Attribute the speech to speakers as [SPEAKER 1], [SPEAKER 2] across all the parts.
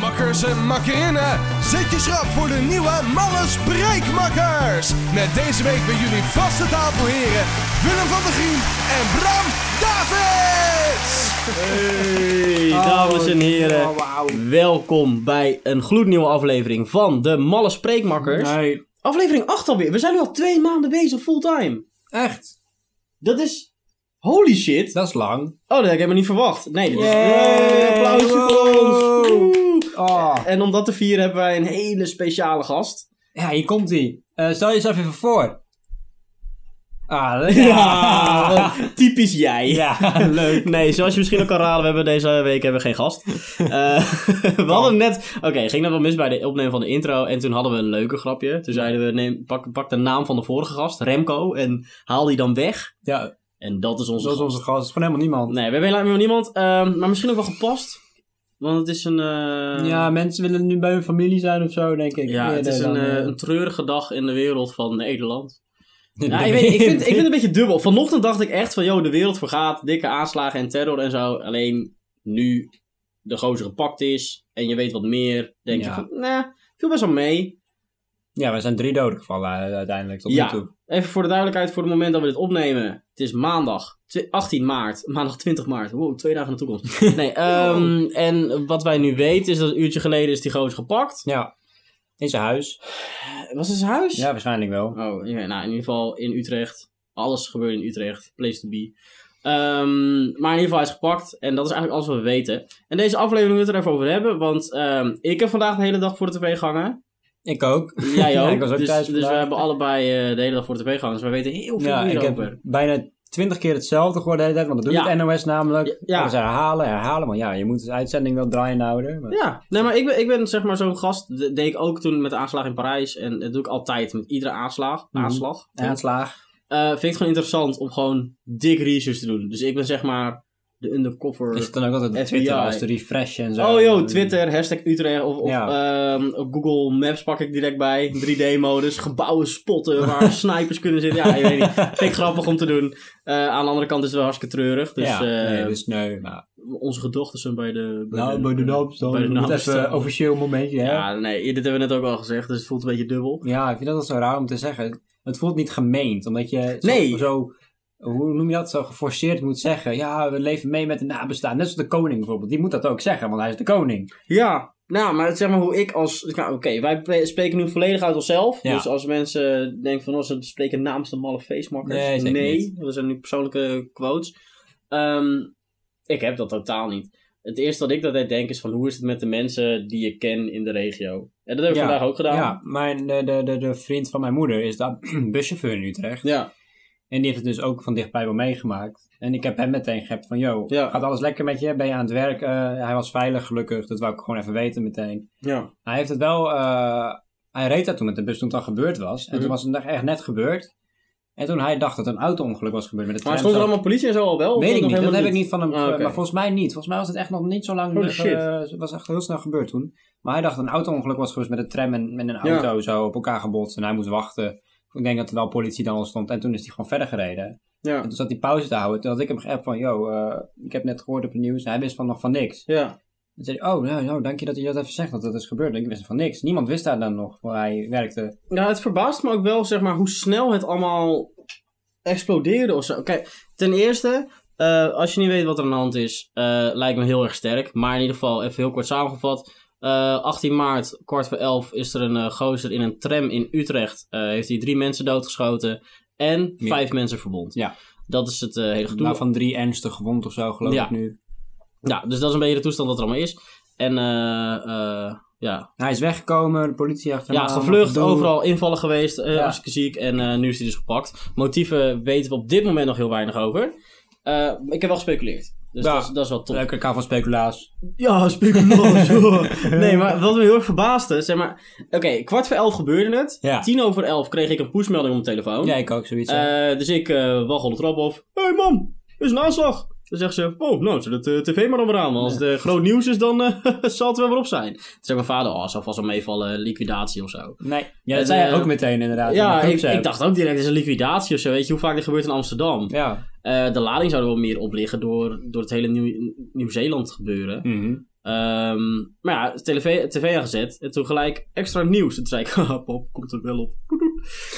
[SPEAKER 1] Haarlemse Makkerinnen. Zet je schrap voor de nieuwe Malle Spreekmakkers. Met deze week bij jullie vaste tafelheren Willem van der Grien en Bram Davids.
[SPEAKER 2] Hey,
[SPEAKER 3] Oh,
[SPEAKER 2] dames en
[SPEAKER 3] Eh,
[SPEAKER 2] heren. Welkom bij een gloednieuwe aflevering van de Malle Spreekmakkers.
[SPEAKER 3] Nee,
[SPEAKER 2] Aflevering 8 alweer. We zijn nu al twee maanden bezig fulltime.
[SPEAKER 3] echt.
[SPEAKER 2] Dat is... Holy shit.
[SPEAKER 3] Dat is lang.
[SPEAKER 2] Oh, dat heb ik helemaal niet verwacht. Nee, dit is...
[SPEAKER 3] Yay,
[SPEAKER 2] Hey, applausje voor ons.
[SPEAKER 3] wow.
[SPEAKER 2] Woe.
[SPEAKER 3] Oh.
[SPEAKER 2] En om dat te vieren hebben wij een hele speciale gast.
[SPEAKER 3] Ja, hier komt hij. Eh, stel jezelf even voor. Ah, leuk.
[SPEAKER 2] Ah, typisch jij.
[SPEAKER 3] ja, leuk.
[SPEAKER 2] Nee, zoals je misschien ook kan raden, we hebben deze week hebben we geen gast. Eh, we hadden net... Oké, ging dat wel mis bij de opnemen van de intro. En toen hadden we een leuke grapje. Toen zeiden we, neem, pak, pak de naam van de vorige gast, Remco. En haal die dan weg.
[SPEAKER 3] Ja,
[SPEAKER 2] En dat is onze
[SPEAKER 3] zoals
[SPEAKER 2] gast.
[SPEAKER 3] onze gast. is gewoon helemaal niemand.
[SPEAKER 2] Nee, we hebben helemaal niemand. ehm, maar misschien ook wel gepast. Want het is een... eh,
[SPEAKER 3] Ja, mensen willen nu bij hun familie zijn of zo, denk ik.
[SPEAKER 2] ja, het
[SPEAKER 3] Eerder
[SPEAKER 2] is een,
[SPEAKER 3] dan,
[SPEAKER 2] eh,
[SPEAKER 3] eh,
[SPEAKER 2] een treurige dag in de wereld van Nederland.
[SPEAKER 3] de
[SPEAKER 2] Ja, Nou, ik, weet, ik, vind, ik vind het een beetje dubbel. Vanochtend dacht ik echt van, joh, de wereld vergaat. Dikke aanslagen en terror en zo. Alleen nu de gozer gepakt is en je weet wat meer, denk je
[SPEAKER 3] Ja.
[SPEAKER 2] van, nou, viel best wel mee.
[SPEAKER 3] Ja, we zijn drie doden gevallen eh, uiteindelijk tot
[SPEAKER 2] Ja.
[SPEAKER 3] nu toe.
[SPEAKER 2] Even voor de duidelijkheid, voor het moment dat we dit opnemen. Het is maandag tw- 18 maart. Maandag 20 maart. Wow, twee dagen in de toekomst. Nee, ehm, en wat wij nu weten is dat een uurtje geleden is die gozer gepakt.
[SPEAKER 3] Ja. In zijn huis.
[SPEAKER 2] Was het zijn huis?
[SPEAKER 3] Ja, waarschijnlijk wel.
[SPEAKER 2] Oh, ja, nou in ieder geval in Utrecht. Alles gebeurt in Utrecht. Place to be. Ehm, maar in ieder geval hij is gepakt. En dat is eigenlijk alles wat we weten. En deze aflevering willen we het er even over hebben. Want ehm, ik heb vandaag de hele dag voor de tv gehangen.
[SPEAKER 3] Ik ook.
[SPEAKER 2] Jij ook.
[SPEAKER 3] Ja, ik was ook
[SPEAKER 2] dus,
[SPEAKER 3] thuis
[SPEAKER 2] dus we
[SPEAKER 3] vandaag.
[SPEAKER 2] hebben allebei eh, de hele dag voor de tv gehangen. Dus we weten heel veel
[SPEAKER 3] Ja, ik
[SPEAKER 2] hierover.
[SPEAKER 3] heb bijna twintig keer hetzelfde gehoord de hele tijd, want dat doet
[SPEAKER 2] Ja.
[SPEAKER 3] het NOS namelijk.
[SPEAKER 2] Ja, ja.
[SPEAKER 3] Oh, Ze herhalen, herhalen, want ja, je moet de uitzending wel draaiende houden. maar-
[SPEAKER 2] Ja, nee, maar ik ben, ik ben zeg maar zo'n gast. Dat deed ik ook toen met de aanslag in Parijs. En dat doe ik altijd met iedere aanslag.
[SPEAKER 3] Mhm.
[SPEAKER 2] Aanslag.
[SPEAKER 3] Aanslaag.
[SPEAKER 2] Eh, vind ik het gewoon interessant om gewoon dik research te doen. Dus ik ben zeg maar de undercover.
[SPEAKER 3] Is het dan ook altijd op
[SPEAKER 2] FBI.
[SPEAKER 3] Twitter als de refresh en zo?
[SPEAKER 2] Oh joh, Twitter, hashtag Utrecht of, of ehm, op Google Maps pak ik direct bij. 3D-modus, gebouwen spotten waar snipers kunnen zitten. Ja, ik weet niet. Vind ik grappig om te doen. Eh, aan de andere kant is het wel hartstikke treurig. Dus,
[SPEAKER 3] ja,
[SPEAKER 2] eh,
[SPEAKER 3] nee, dus nee. Maar,
[SPEAKER 2] onze gedochten zijn bij de...
[SPEAKER 3] nou, bij de naamstand.
[SPEAKER 2] bij de
[SPEAKER 3] moet
[SPEAKER 2] naamstand.
[SPEAKER 3] Even officieel momentje, hè? Ja.
[SPEAKER 2] Ja, nee, dit hebben we net ook al gezegd, dus het voelt een beetje dubbel.
[SPEAKER 3] ik vind dat wel zo raar om te zeggen. Het voelt niet gemeend, omdat je zo,
[SPEAKER 2] Nee.
[SPEAKER 3] zo- hoe noem je dat, zo geforceerd moet zeggen. Ja, we leven mee met de nabestaan. Net zoals de koning bijvoorbeeld. Die moet dat ook zeggen, want hij is de koning.
[SPEAKER 2] Ja, nou, maar zeg maar hoe ik als... Nou, Oké, wij pre- spreken nu volledig uit onszelf.
[SPEAKER 3] Ja.
[SPEAKER 2] Dus als mensen denken van, oh, ze spreken namens de malle feestmakkers.
[SPEAKER 3] Nee, zeker niet.
[SPEAKER 2] dat zijn nu persoonlijke quotes. Ehm, ik heb dat totaal niet. Het eerste wat ik altijd denk is van, hoe is het met de mensen die ik ken in de regio? En dat heb ik
[SPEAKER 3] Ja,
[SPEAKER 2] vandaag ook gedaan.
[SPEAKER 3] Ja, mijn, de, de, de, de vriend van mijn moeder is daar buschauffeur in Utrecht.
[SPEAKER 2] Ja,
[SPEAKER 3] En die heeft het dus ook van dichtbij wel meegemaakt. En ik heb hem meteen geappt van, yo,
[SPEAKER 2] Ja.
[SPEAKER 3] gaat alles lekker met je? Ben je aan het werk? Eh, hij was veilig, gelukkig. Dat wou ik gewoon even weten meteen.
[SPEAKER 2] ja.
[SPEAKER 3] Hij heeft het wel... eh, hij reed daar toen met de bus toen het al gebeurd was. En
[SPEAKER 2] Mhm.
[SPEAKER 3] toen was het nog echt net gebeurd. En toen hij dacht dat een auto-ongeluk was gebeurd met de
[SPEAKER 2] Maar
[SPEAKER 3] tram.
[SPEAKER 2] stond er
[SPEAKER 3] zo-
[SPEAKER 2] allemaal politie en zo al wel? of
[SPEAKER 3] Weet ik
[SPEAKER 2] nog
[SPEAKER 3] niet, dat
[SPEAKER 2] helemaal
[SPEAKER 3] heb ik niet van hem.
[SPEAKER 2] Ah, oké.
[SPEAKER 3] Maar volgens mij niet. Volgens mij was het echt nog niet zo lang.
[SPEAKER 2] Holy
[SPEAKER 3] eh,
[SPEAKER 2] shit.
[SPEAKER 3] Het was echt heel snel gebeurd toen. Maar hij dacht dat een auto-ongeluk was geweest met een tram en, en een
[SPEAKER 2] Ja.
[SPEAKER 3] auto zo op elkaar gebotst. En hij moest wachten. Ik denk dat er wel politie dan al stond. En toen is hij gewoon verder gereden.
[SPEAKER 2] Ja,
[SPEAKER 3] En Oh, toen zat hij pauze te houden. Toen had ik hem geappt van, yo, eh, ik heb net gehoord op het nieuws. En hij wist van nog van niks.
[SPEAKER 2] ja.
[SPEAKER 3] Toen zei hij, oh, nou, nou, dank je dat je dat even zegt, dat dat is gebeurd. Ik wist van niks. Niemand wist daar dan nog, waar hij werkte.
[SPEAKER 2] Nou, het verbaast me ook wel, zeg maar, hoe snel het allemaal explodeerde of zo. Kijk, ten eerste, eh, als je niet weet wat er aan de hand is, eh, lijkt me heel erg sterk. Maar in ieder geval, even heel kort samengevat. eh, 18 maart, kwart voor 11, is er een eh, gozer in een tram in Utrecht. eh, heeft hij drie mensen doodgeschoten en
[SPEAKER 3] Meer.
[SPEAKER 2] vijf mensen verwond.
[SPEAKER 3] Ja.
[SPEAKER 2] Dat is het eh, hele gedoe.
[SPEAKER 3] Waarvan Nou, drie ernstig gewond of zo, geloof
[SPEAKER 2] Ja.
[SPEAKER 3] ik nu.
[SPEAKER 2] Ja, dus dat is een beetje de toestand wat er allemaal is. En eh, eh, ja,
[SPEAKER 3] Hij is weggekomen, de politie achter hem
[SPEAKER 2] Ja,
[SPEAKER 3] aan,
[SPEAKER 2] gevlucht,
[SPEAKER 3] gedoe.
[SPEAKER 2] overal invallen geweest, eh
[SPEAKER 3] Ja.
[SPEAKER 2] hartstikke ziek en eh, nu is hij dus gepakt. Motieven weten we op dit moment nog heel weinig over. Eh, ik heb wel gespeculeerd, dus
[SPEAKER 3] Ja.
[SPEAKER 2] dat, is, dat is wel tof.
[SPEAKER 3] Leuke kaal van speculaas.
[SPEAKER 2] Ja, speculatie. nee, maar wat me heel erg verbaasde, zeg maar... Oké, kwart voor elf gebeurde het.
[SPEAKER 3] Ja.
[SPEAKER 2] Tien over elf kreeg ik een pushmelding op mijn telefoon.
[SPEAKER 3] Ja, ik ook zoiets. hè.
[SPEAKER 2] Eh, dus ik eh waggel de trap af. Hé hey man, er is een aanslag. Dan zegt ze, oh, nou, zet het eh, tv maar dan maar aan. Want als het eh, groot nieuws is, dan eh, zal het wel weer op zijn. Toen zei mijn vader, oh, zal vast wel meevallen, liquidatie of zo.
[SPEAKER 3] nee,
[SPEAKER 2] het,
[SPEAKER 3] ja, dat zei hij
[SPEAKER 2] eh,
[SPEAKER 3] ook meteen inderdaad. in de
[SPEAKER 2] Ja, ik,
[SPEAKER 3] groepsapp.
[SPEAKER 2] ik dacht ook direct, het is een liquidatie of zo. Weet je hoe vaak dit gebeurt in Amsterdam?
[SPEAKER 3] Ja.
[SPEAKER 2] Eh, de lading zou er wel meer op liggen door, door het hele Nieuw- Nieuw-Zeeland gebeuren.
[SPEAKER 3] Mhm.
[SPEAKER 2] Ehm, maar ja, tv, tv aangezet. En toen gelijk extra nieuws. Toen zei ik, haha, pap, komt er wel op.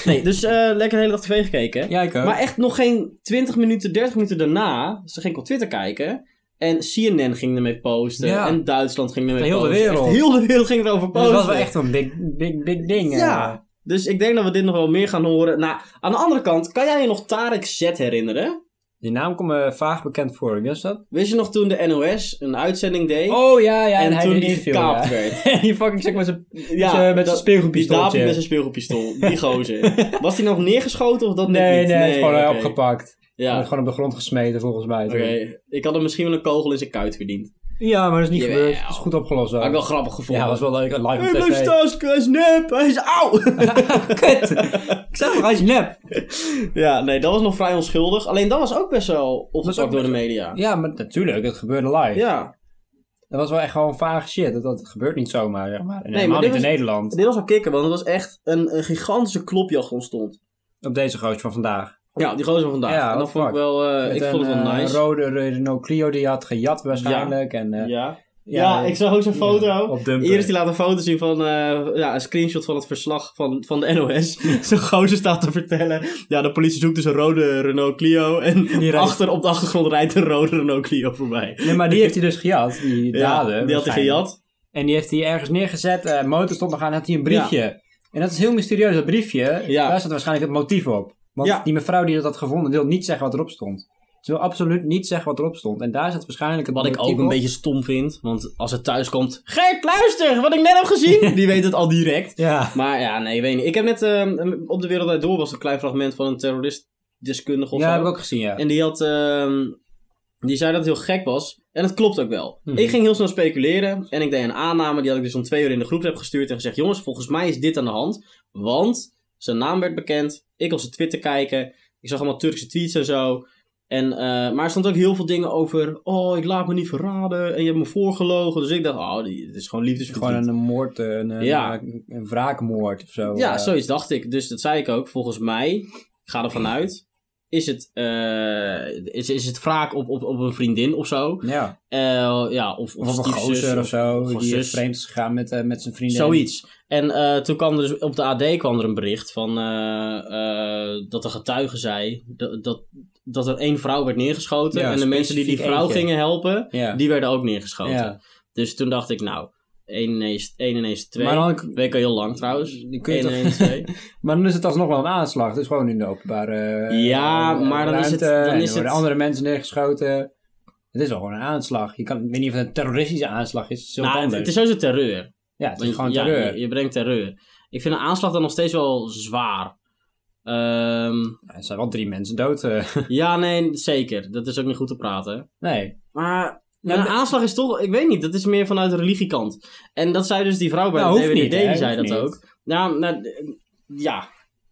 [SPEAKER 2] Nee, dus eh, lekker de hele dag tv gekeken.
[SPEAKER 3] Ja, ik ook.
[SPEAKER 2] Maar echt nog geen 20 minuten, 30 minuten daarna, ze ging ik op Twitter kijken. En CNN ging ermee posten.
[SPEAKER 3] Ja.
[SPEAKER 2] En Duitsland ging ermee
[SPEAKER 3] Heel de
[SPEAKER 2] posten.
[SPEAKER 3] wereld.
[SPEAKER 2] Echt heel de wereld ging erover
[SPEAKER 3] Dus
[SPEAKER 2] posten.
[SPEAKER 3] dat was wel echt een big, big, big ding. eh.
[SPEAKER 2] Oh, Ja. Dus ik denk dat we dit nog wel meer gaan horen. Nou, aan de andere kant, kan jij je nog Tarek Z herinneren?
[SPEAKER 3] Die naam komt me vaag bekend voor. Wie was dat?
[SPEAKER 2] Wist je nog toen de NOS een uitzending deed?
[SPEAKER 3] Oh ja, ja.
[SPEAKER 2] en,
[SPEAKER 3] hij
[SPEAKER 2] toen
[SPEAKER 3] deed
[SPEAKER 2] die
[SPEAKER 3] niet veel,
[SPEAKER 2] gekaapt
[SPEAKER 3] ja.
[SPEAKER 2] werd.
[SPEAKER 3] die fucking zeg met zijn
[SPEAKER 2] Ja,
[SPEAKER 3] zijn- met zijn
[SPEAKER 2] dat-
[SPEAKER 3] speelgoedpistooltje.
[SPEAKER 2] Die David met zijn speelgoedpistool. Die gozer. Was die nog neergeschoten of dat net
[SPEAKER 3] Nee, nee,
[SPEAKER 2] niet?
[SPEAKER 3] hij is gewoon eh,
[SPEAKER 2] oké.
[SPEAKER 3] opgepakt. Hij
[SPEAKER 2] Ja,
[SPEAKER 3] werd
[SPEAKER 2] oké.
[SPEAKER 3] gewoon op de grond gesmeten volgens mij. toen.
[SPEAKER 2] Ik had hem misschien wel een kogel in zijn kuit verdiend.
[SPEAKER 3] Ja, maar dat is niet
[SPEAKER 2] Jawel.
[SPEAKER 3] gebeurd. Dat is goed opgelost.
[SPEAKER 2] Had ik wel
[SPEAKER 3] Ook.
[SPEAKER 2] grappig gevonden.
[SPEAKER 3] Ja, was wel leuk. Live
[SPEAKER 2] Hij
[SPEAKER 3] op
[SPEAKER 2] blijft
[SPEAKER 3] tv.
[SPEAKER 2] staan, hij is nep, hij is auw!
[SPEAKER 3] Kut! Ik zeg toch, hij is nep.
[SPEAKER 2] ja, nee, dat was nog vrij onschuldig. Alleen dat was ook best wel
[SPEAKER 3] Dat
[SPEAKER 2] opgepakt
[SPEAKER 3] is
[SPEAKER 2] door
[SPEAKER 3] ook
[SPEAKER 2] de media.
[SPEAKER 3] Ja, maar natuurlijk. Het gebeurde live.
[SPEAKER 2] Ja,
[SPEAKER 3] Dat was wel echt gewoon vage shit. Dat, dat gebeurt niet zomaar, zeg maar. En
[SPEAKER 2] maar
[SPEAKER 3] helemaal
[SPEAKER 2] dit
[SPEAKER 3] niet in
[SPEAKER 2] was-
[SPEAKER 3] Nederland.
[SPEAKER 2] dit was wel kicken, want het was echt een, een gigantische klopjacht ontstond.
[SPEAKER 3] Op deze gootje van vandaag.
[SPEAKER 2] Ja, die gozer van vandaag.
[SPEAKER 3] Ja,
[SPEAKER 2] en dat
[SPEAKER 3] wat
[SPEAKER 2] vond ik
[SPEAKER 3] fuck.
[SPEAKER 2] wel, eh,
[SPEAKER 3] Met
[SPEAKER 2] ik vond het
[SPEAKER 3] een,
[SPEAKER 2] wel
[SPEAKER 3] eh,
[SPEAKER 2] nice.
[SPEAKER 3] rode Renault Clio die hij had gejat waarschijnlijk. En, eh,
[SPEAKER 2] ja.
[SPEAKER 3] ja,
[SPEAKER 2] zag ook zo'n
[SPEAKER 3] ja, op eh. dumper.
[SPEAKER 2] Iris die laat een foto zien van eh, ja, een screenshot van het verslag van, van de NOS. Zo'n gozer staat te vertellen. Ja, de politie zoekt dus een rode Renault Clio. En
[SPEAKER 3] rijdt-
[SPEAKER 2] achter, op de achtergrond rijdt een rode Renault Clio voorbij.
[SPEAKER 3] Nee, maar die heeft hij dus gejat. Die
[SPEAKER 2] Ja,
[SPEAKER 3] daden.
[SPEAKER 2] die had hij
[SPEAKER 3] waarschijnlijk.
[SPEAKER 2] gejat.
[SPEAKER 3] En die heeft hij ergens neergezet. eh motor stond nog aan. Had hij een briefje. En dat is heel mysterieus. Dat briefje.
[SPEAKER 2] Ja.
[SPEAKER 3] Daar zat waarschijnlijk het motief op. Want
[SPEAKER 2] Ja.
[SPEAKER 3] die mevrouw die dat had gevonden wil niet zeggen wat erop stond. Ze wil absoluut niet zeggen wat erop stond. En daar zat waarschijnlijk het
[SPEAKER 2] Wat ik
[SPEAKER 3] motief
[SPEAKER 2] ook een
[SPEAKER 3] op.
[SPEAKER 2] beetje stom vind. Want als het thuis komt. Gert, luister! Wat ik net heb gezien. Die weet het al direct.
[SPEAKER 3] Ja.
[SPEAKER 2] Maar ja, nee, ik weet niet. Ik heb net ehm, op de wereld Draait door was een klein fragment van een terroristdeskundige of
[SPEAKER 3] Ja,
[SPEAKER 2] zo.
[SPEAKER 3] heb ik ook gezien, ja.
[SPEAKER 2] En die had. ehm, die zei dat het heel gek was. En dat klopt ook wel.
[SPEAKER 3] Mhm.
[SPEAKER 2] Ik ging heel snel speculeren. En ik deed een aanname. Die had ik dus om twee uur in de groep heb gestuurd. En gezegd: Jongens, volgens mij is dit aan de hand. Want zijn naam werd bekend. Ik was op Twitter kijken. Ik zag allemaal Turkse tweets en zo. En, eh, maar er stond ook heel veel dingen over. Oh, ik laat me niet verraden. En je hebt me voorgelogen. Dus ik dacht: Oh, die, het is gewoon liefdesverdriet.
[SPEAKER 3] Gewoon een moord, eh, een, een,
[SPEAKER 2] Ja.
[SPEAKER 3] een, een wraakmoord of zo.
[SPEAKER 2] Ja,
[SPEAKER 3] eh.
[SPEAKER 2] zoiets dacht ik. Dus dat zei ik ook. Volgens mij, ik ga ervan uit, is het, eh, is, is het wraak op, op, op een vriendin of zo.
[SPEAKER 3] Ja,
[SPEAKER 2] Eh, ja, of,
[SPEAKER 3] of,
[SPEAKER 2] of,
[SPEAKER 3] een
[SPEAKER 2] stiefzus
[SPEAKER 3] gozer of zo,
[SPEAKER 2] of een
[SPEAKER 3] die
[SPEAKER 2] zus.
[SPEAKER 3] vreemd is gegaan met, eh, met zijn vrienden.
[SPEAKER 2] Zoiets. En eh, toen kwam er dus op de AD kwam er een bericht van eh, eh, dat de getuige zei dat, dat, dat er één vrouw werd neergeschoten.
[SPEAKER 3] Ja,
[SPEAKER 2] en de mensen die die
[SPEAKER 3] specifiek
[SPEAKER 2] vrouw
[SPEAKER 3] eentje.
[SPEAKER 2] gingen helpen,
[SPEAKER 3] Ja.
[SPEAKER 2] die werden ook neergeschoten.
[SPEAKER 3] Ja.
[SPEAKER 2] Dus toen dacht ik, nou, één ineens, één ineens twee.
[SPEAKER 3] Maar dan,
[SPEAKER 2] Week al heel lang trouwens.
[SPEAKER 3] Dan kun je
[SPEAKER 2] Eén
[SPEAKER 3] toch-
[SPEAKER 2] ineens twee.
[SPEAKER 3] maar dan is het alsnog wel een aanslag. Dus gewoon in de openbare eh,
[SPEAKER 2] Ja,
[SPEAKER 3] eh,
[SPEAKER 2] maar dan is het-
[SPEAKER 3] ruimte,
[SPEAKER 2] dan
[SPEAKER 3] en er
[SPEAKER 2] is
[SPEAKER 3] worden
[SPEAKER 2] het-
[SPEAKER 3] andere mensen neergeschoten. Het is wel gewoon een aanslag. Je kan, ik weet niet of het een terroristische aanslag is. Het is heel
[SPEAKER 2] Nou, het,
[SPEAKER 3] anders.
[SPEAKER 2] het is sowieso terreur.
[SPEAKER 3] ja, het is
[SPEAKER 2] Want-
[SPEAKER 3] gewoon
[SPEAKER 2] ja,
[SPEAKER 3] terreur.
[SPEAKER 2] Je, je brengt terreur. Ik vind een aanslag dan nog steeds wel zwaar. Ehm,
[SPEAKER 3] Ja, er zijn wel drie mensen dood. eh.
[SPEAKER 2] ja, nee, zeker. Dat is ook niet goed te praten.
[SPEAKER 3] nee.
[SPEAKER 2] Maar
[SPEAKER 3] Nou,
[SPEAKER 2] een
[SPEAKER 3] dat-
[SPEAKER 2] aanslag is toch, ik weet niet, dat is meer vanuit de religiekant. En dat zei dus die vrouw bij
[SPEAKER 3] Nou,
[SPEAKER 2] de
[SPEAKER 3] hoeft
[SPEAKER 2] DWDD,
[SPEAKER 3] niet, hè,
[SPEAKER 2] die zei dat
[SPEAKER 3] hoeft niet.
[SPEAKER 2] ook. Nou, nou, d- ja.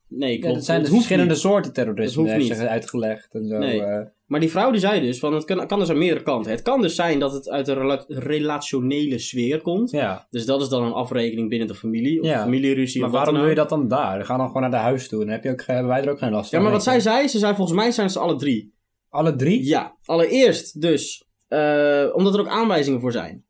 [SPEAKER 2] Nee,
[SPEAKER 3] Ja,
[SPEAKER 2] klopt.
[SPEAKER 3] dat zijn
[SPEAKER 2] Het
[SPEAKER 3] dus
[SPEAKER 2] hoeft
[SPEAKER 3] verschillende
[SPEAKER 2] niet.
[SPEAKER 3] soorten terrorisme.
[SPEAKER 2] Het hoeft
[SPEAKER 3] heeft
[SPEAKER 2] niet.
[SPEAKER 3] zich uitgelegd en zo.
[SPEAKER 2] Nee.
[SPEAKER 3] eh.
[SPEAKER 2] Maar die vrouw die zei dus, van het kan, kan dus aan meerdere kanten. Het kan dus zijn dat het uit de rela- relationele sfeer komt.
[SPEAKER 3] ja.
[SPEAKER 2] Dus dat is dan een afrekening binnen de familie, of
[SPEAKER 3] Ja.
[SPEAKER 2] familieruzie
[SPEAKER 3] Maar
[SPEAKER 2] of wat
[SPEAKER 3] waarom
[SPEAKER 2] dan
[SPEAKER 3] doe je
[SPEAKER 2] ook.
[SPEAKER 3] dat dan daar? Ga dan gewoon naar de huis toe. Dan heb je ook, ge- hebben wij er ook geen last van.
[SPEAKER 2] Ja, maar wat
[SPEAKER 3] weet
[SPEAKER 2] zij
[SPEAKER 3] je.
[SPEAKER 2] zei, ze zei volgens mij zijn ze alle drie.
[SPEAKER 3] Alle drie?
[SPEAKER 2] Ja, allereerst dus, eh, omdat er ook aanwijzingen voor zijn.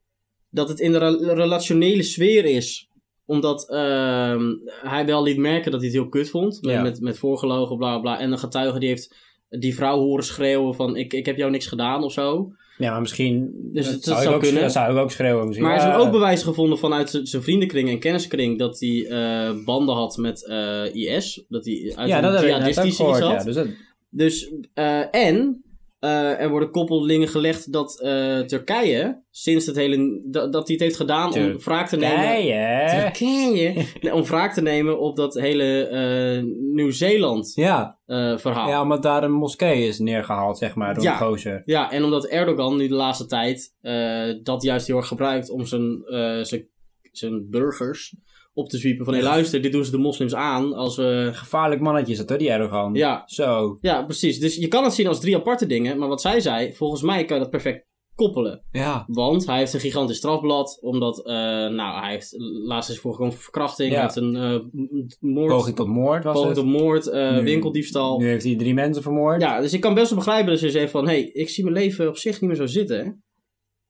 [SPEAKER 2] Dat het in de re- relationele sfeer is. Omdat ehm, hij wel liet merken dat hij het heel kut vond. Met,
[SPEAKER 3] Ja.
[SPEAKER 2] met, met voorgelogen, bla bla. En een getuige die heeft die vrouw horen schreeuwen van ik, ik heb jou niks gedaan of zo.
[SPEAKER 3] Ja, maar misschien...
[SPEAKER 2] Dus het-
[SPEAKER 3] dat
[SPEAKER 2] het
[SPEAKER 3] zou, ik
[SPEAKER 2] zou kunnen.
[SPEAKER 3] ook schreeuwen- Dat zou ik ook schreeuwen misschien.
[SPEAKER 2] Maar er zijn
[SPEAKER 3] Ja.
[SPEAKER 2] ook bewijzen gevonden vanuit zijn- zijn vriendenkring en kenniskring dat hij eh, banden had met eh, IS. Dat hij uit
[SPEAKER 3] Ja, dat
[SPEAKER 2] een
[SPEAKER 3] heb ik net ook
[SPEAKER 2] jihadistische
[SPEAKER 3] gehoord.
[SPEAKER 2] iets had.
[SPEAKER 3] Ja, dus dat,
[SPEAKER 2] Dus, eh, en eh, er worden koppelingen gelegd dat eh, Turkije, sinds het hele, dat, dat hij het heeft gedaan om
[SPEAKER 3] Turk-
[SPEAKER 2] wraak te nemen.
[SPEAKER 3] nee, hè?
[SPEAKER 2] Turkije. Nee, om wraak te nemen op dat hele eh, Nieuw-Zeeland
[SPEAKER 3] Ja,
[SPEAKER 2] eh, verhaal.
[SPEAKER 3] ja,
[SPEAKER 2] Ja.
[SPEAKER 3] omdat daar een moskee is neergehaald, zeg maar, door
[SPEAKER 2] Ja.
[SPEAKER 3] een gozer.
[SPEAKER 2] en omdat Erdogan nu de laatste tijd eh, dat juist heel erg gebruikt om zijn, eh, zijn, zijn burgers op te zwiepen. Van hé, luister, dit doen ze de moslims aan als we.
[SPEAKER 3] Gevaarlijk mannetje is dat, hoor, die Erdogan.
[SPEAKER 2] Ja,
[SPEAKER 3] Zo.
[SPEAKER 2] ja, precies. Dus je kan het zien als drie aparte dingen, maar wat zij zei, volgens mij kan je dat perfect koppelen.
[SPEAKER 3] Ja.
[SPEAKER 2] Want hij heeft een gigantisch strafblad, omdat eh, nou, hij heeft laatst is voorgekomen voor verkrachting,
[SPEAKER 3] Ja.
[SPEAKER 2] hij heeft een eh, m- m- moord,
[SPEAKER 3] Poging tot moord was
[SPEAKER 2] poging
[SPEAKER 3] het.
[SPEAKER 2] tot moord, eh,
[SPEAKER 3] Nu-
[SPEAKER 2] winkeldiefstal.
[SPEAKER 3] Nu heeft hij drie mensen vermoord.
[SPEAKER 2] Ja, dus ik kan best wel begrijpen dat ze zegt van, hé, hey, ik zie mijn leven op zich niet meer zo zitten.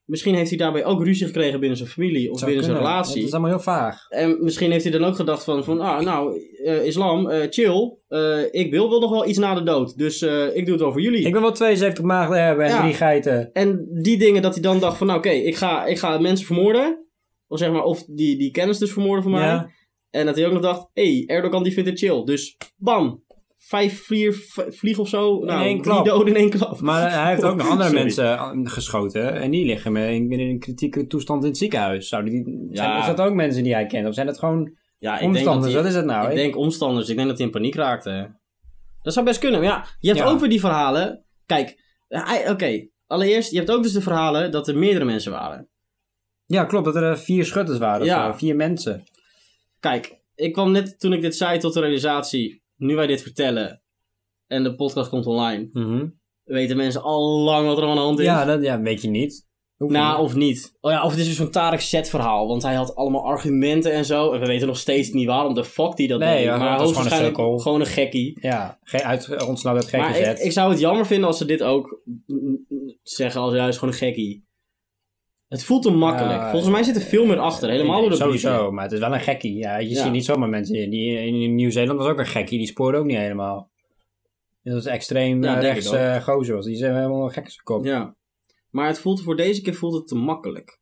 [SPEAKER 2] Misschien heeft hij daarbij ook ruzie gekregen binnen zijn familie of
[SPEAKER 3] Zou
[SPEAKER 2] binnen zijn
[SPEAKER 3] kunnen. Het
[SPEAKER 2] relatie.
[SPEAKER 3] is allemaal heel vaag.
[SPEAKER 2] En misschien heeft hij dan ook gedacht van, van ah, nou, eh, islam, eh, chill. Eh, ik wil wel nog wel iets na de dood. Dus eh, ik doe het wel voor jullie.
[SPEAKER 3] Ik wil wel 72 maagden hebben en
[SPEAKER 2] Ja.
[SPEAKER 3] drie geiten.
[SPEAKER 2] En die dingen dat hij dan dacht van, nou, oké, ik, ga, ik ga mensen vermoorden. Of zeg maar, of die, die kennis dus vermoorden van mij.
[SPEAKER 3] Ja.
[SPEAKER 2] En dat hij ook nog dacht, hé, hey, Erdogan die vindt het chill. Dus bam, vijf vlier, v- vlieg of zo. nou,
[SPEAKER 3] één
[SPEAKER 2] drie
[SPEAKER 3] klap.
[SPEAKER 2] doden in één klap.
[SPEAKER 3] Maar eh, hij heeft ook nog andere
[SPEAKER 2] Sorry.
[SPEAKER 3] mensen eh, geschoten. En die liggen met- in, in een kritieke toestand in het ziekenhuis. Zouden die,
[SPEAKER 2] Ja.
[SPEAKER 3] zijn, is dat ook mensen die hij kent? Of zijn dat gewoon
[SPEAKER 2] ja, ik denk dat
[SPEAKER 3] omstanders?
[SPEAKER 2] hij-
[SPEAKER 3] Wat is dat nou?
[SPEAKER 2] ik denk omstanders. Ik denk dat hij in paniek raakte. Dat zou best kunnen. Maar ja, je hebt
[SPEAKER 3] Ja.
[SPEAKER 2] ook weer die verhalen. Kijk, hij- oké. Allereerst, je hebt ook dus de verhalen dat er meerdere mensen waren.
[SPEAKER 3] Ja, klopt. Dat er eh, vier schutters waren. of
[SPEAKER 2] Ja.
[SPEAKER 3] zo. Vier mensen.
[SPEAKER 2] Kijk, ik kwam net toen ik dit zei tot de realisatie. Nu wij dit vertellen en de podcast komt online, weten mensen al lang wat er aan de hand is.
[SPEAKER 3] Ja, dat ja, weet je niet. Hoeft
[SPEAKER 2] Na
[SPEAKER 3] niet.
[SPEAKER 2] of niet. Oh ja, of het is weer zo'n Tarek Zet verhaal. Want hij had allemaal argumenten en zo. En we weten nog steeds niet waarom de fuck die dat
[SPEAKER 3] Nee,
[SPEAKER 2] deed.
[SPEAKER 3] ja,
[SPEAKER 2] maar
[SPEAKER 3] want dat is
[SPEAKER 2] hoogstwaarschijnlijk
[SPEAKER 3] gewoon een sukkel.
[SPEAKER 2] gewoon een gekkie.
[SPEAKER 3] Ja, geen uit, ontsnapt uit geen
[SPEAKER 2] Maar ik,
[SPEAKER 3] gezet.
[SPEAKER 2] ik zou het jammer vinden als ze dit ook mm, mm, zeggen als juist gewoon een gekkie. Het voelt te makkelijk.
[SPEAKER 3] Ja, eh,
[SPEAKER 2] Volgens mij zit er veel meer achter. Helemaal door de brieven.
[SPEAKER 3] Sowieso, maar het is wel een gekkie. Ja, je
[SPEAKER 2] Ja.
[SPEAKER 3] ziet niet zomaar mensen in. Die, in, in Nieuw-Zeeland was ook een gekkie. Die spoorde ook niet helemaal. Dat was extreem
[SPEAKER 2] Ja,
[SPEAKER 3] eh,
[SPEAKER 2] denk ik
[SPEAKER 3] rechts
[SPEAKER 2] wel.
[SPEAKER 3] eh, gozer. Was. Die zijn helemaal een gekke kop.
[SPEAKER 2] Ja. Maar het voelt, voor deze keer voelt het te makkelijk.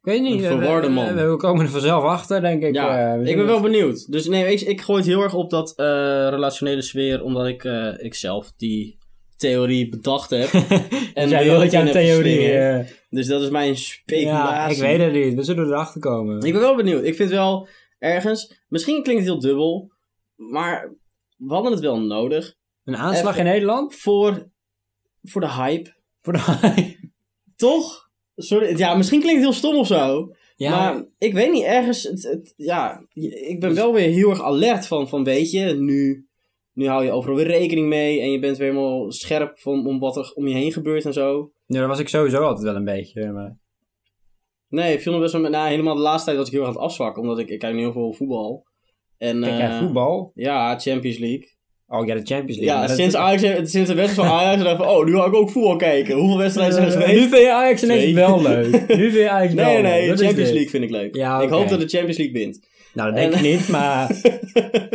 [SPEAKER 3] Ik weet niet. eh,
[SPEAKER 2] Een verwarde
[SPEAKER 3] we- we-
[SPEAKER 2] man.
[SPEAKER 3] We, we komen er vanzelf achter, denk ik.
[SPEAKER 2] ja,
[SPEAKER 3] Eh, we
[SPEAKER 2] ik
[SPEAKER 3] zien
[SPEAKER 2] ben wel
[SPEAKER 3] het.
[SPEAKER 2] benieuwd. Dus nee, ik, ik gooi het heel erg op dat eh, relationele sfeer, omdat ik, eh, ik zelf die theorie bedacht heb. en
[SPEAKER 3] Dus jij
[SPEAKER 2] wil
[SPEAKER 3] wil
[SPEAKER 2] ik
[SPEAKER 3] dat je
[SPEAKER 2] in
[SPEAKER 3] een
[SPEAKER 2] heb
[SPEAKER 3] theorie...
[SPEAKER 2] geslingerd.
[SPEAKER 3] eh,
[SPEAKER 2] Dus dat is mijn
[SPEAKER 3] ja,
[SPEAKER 2] speculatie.
[SPEAKER 3] ik weet het niet. We zullen erachter komen.
[SPEAKER 2] Ik ben wel benieuwd. Ik vind wel ergens, misschien klinkt het heel dubbel, maar we hadden het wel nodig
[SPEAKER 3] Een aanslag
[SPEAKER 2] Even-
[SPEAKER 3] in Nederland?
[SPEAKER 2] voor, voor de hype.
[SPEAKER 3] Voor de...
[SPEAKER 2] Toch? Sorry, ja, misschien klinkt het heel stom of zo.
[SPEAKER 3] ja, nou,
[SPEAKER 2] Maar ik weet niet, ergens, het, het- ja, ik
[SPEAKER 3] Dus-
[SPEAKER 2] ben wel weer heel erg alert van, van weet je, nu, nu hou je overal weer rekening mee en je bent weer helemaal scherp van, om wat er om je heen gebeurt en zo.
[SPEAKER 3] ja, dat was ik sowieso altijd wel een beetje. Maar...
[SPEAKER 2] Nee, ik viel nog best wel met, nou, helemaal de laatste tijd was ik heel erg aan het afzwakken, omdat ik, ik kijk nu heel veel voetbal. En,
[SPEAKER 3] Kijk,
[SPEAKER 2] eh,
[SPEAKER 3] jij voetbal?
[SPEAKER 2] Ja, Champions League.
[SPEAKER 3] Oh ja, de Champions League.
[SPEAKER 2] Ja,
[SPEAKER 3] Maar dat-
[SPEAKER 2] sinds, Ajax, sinds de wedstrijd van Ajax dacht ik van, oh, nu ga ik ook voetbal kijken. Hoeveel wedstrijden zijn er
[SPEAKER 3] Eh,
[SPEAKER 2] geweest?
[SPEAKER 3] nu vind je Ajax ineens
[SPEAKER 2] Twee.
[SPEAKER 3] wel leuk. Nu vind je Ajax wel
[SPEAKER 2] Nee, nee,
[SPEAKER 3] leuk.
[SPEAKER 2] nee,
[SPEAKER 3] Dat is
[SPEAKER 2] Champions
[SPEAKER 3] dit.
[SPEAKER 2] League vind ik leuk.
[SPEAKER 3] Ja,
[SPEAKER 2] Ik hoop
[SPEAKER 3] oké.
[SPEAKER 2] dat de Champions League wint.
[SPEAKER 3] Nou, dat denk
[SPEAKER 2] En- eh,
[SPEAKER 3] ik niet, maar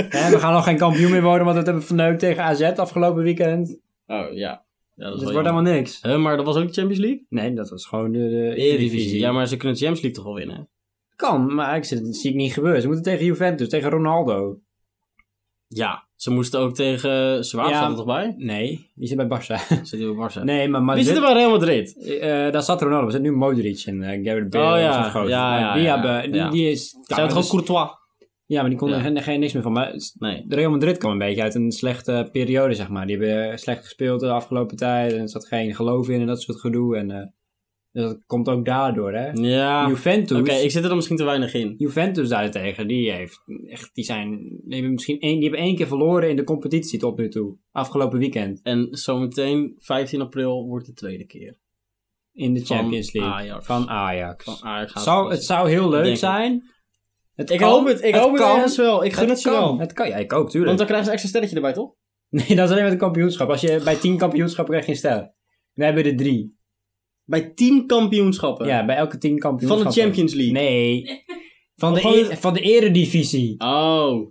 [SPEAKER 3] hè, we gaan nog geen kampioen meer worden, want dat hebben we verneukt tegen AZ afgelopen weekend. Het
[SPEAKER 2] Oh, ja. ja dat
[SPEAKER 3] wordt
[SPEAKER 2] is wel jammer.
[SPEAKER 3] helemaal niks.
[SPEAKER 2] Huh, maar dat was ook de Champions League?
[SPEAKER 3] Nee, dat was gewoon de, de
[SPEAKER 2] Eredivisie. Ja, maar ze kunnen de Champions League toch wel winnen?
[SPEAKER 3] Kan, maar ik zie, dat zie ik niet gebeuren. Ze moeten tegen Juventus, tegen Ronaldo.
[SPEAKER 2] Ja. Ze moesten ook tegen... eh, Ze waren
[SPEAKER 3] Ja.
[SPEAKER 2] er toch bij?
[SPEAKER 3] Nee, die zit bij Barça.
[SPEAKER 2] Zit hij bij Barca?
[SPEAKER 3] Nee, maar Madrid,
[SPEAKER 2] Wie zit er bij Real Madrid?
[SPEAKER 3] eh, daar zat Ronaldo. Er zit nu Modric en eh Gareth Bale.
[SPEAKER 2] Oh, ja.
[SPEAKER 3] dat is een grote.
[SPEAKER 2] Ja, ja,
[SPEAKER 3] die
[SPEAKER 2] ja.
[SPEAKER 3] hebben, die,
[SPEAKER 2] Ja.
[SPEAKER 3] die is...
[SPEAKER 2] Zijn het
[SPEAKER 3] dat
[SPEAKER 2] gewoon
[SPEAKER 3] is-
[SPEAKER 2] Courtois?
[SPEAKER 3] Ja, maar die kon
[SPEAKER 2] Ja.
[SPEAKER 3] er geen, geen niks meer van. Maar
[SPEAKER 2] Nee.
[SPEAKER 3] Real Madrid kwam een beetje uit een slechte periode, zeg maar. Die hebben eh, slecht gespeeld de afgelopen tijd. En er zat geen geloof in en dat soort gedoe. En eh, dus dat komt ook daardoor, hè.
[SPEAKER 2] Ja. Oké,
[SPEAKER 3] Juventus,
[SPEAKER 2] ik zit er dan misschien te weinig in.
[SPEAKER 3] Juventus daarentegen, die heeft echt, die zijn, die hebben misschien één, die hebben één keer verloren in de competitie tot nu toe. Afgelopen weekend.
[SPEAKER 2] En zometeen, 15 april, wordt de tweede keer.
[SPEAKER 3] In de
[SPEAKER 2] Van
[SPEAKER 3] Champions League.
[SPEAKER 2] Ajax.
[SPEAKER 3] Van Ajax.
[SPEAKER 2] Van Ajax gaat
[SPEAKER 3] zou,
[SPEAKER 2] het
[SPEAKER 3] het zou heel leuk
[SPEAKER 2] Denk ik.
[SPEAKER 3] zijn. Het
[SPEAKER 2] Ik
[SPEAKER 3] kan,
[SPEAKER 2] hoop het, ik hoop het
[SPEAKER 3] kan,
[SPEAKER 2] ergens wel. Ik gun het ze
[SPEAKER 3] kan,
[SPEAKER 2] wel.
[SPEAKER 3] Het kan, ja, ik ook, tuurlijk.
[SPEAKER 2] Want dan krijgen ze extra sterretje erbij, toch?
[SPEAKER 3] Nee, dat is alleen met een kampioenschap. Als je bij tien kampioenschappen krijg je een ster. We hebben er drie.
[SPEAKER 2] Bij 10 kampioenschappen.
[SPEAKER 3] Ja, bij elke tien
[SPEAKER 2] van
[SPEAKER 3] kampioenschappen.
[SPEAKER 2] de Champions League.
[SPEAKER 3] Nee. Van de,
[SPEAKER 2] Gewoon-
[SPEAKER 3] e- van de eredivisie.
[SPEAKER 2] Oh.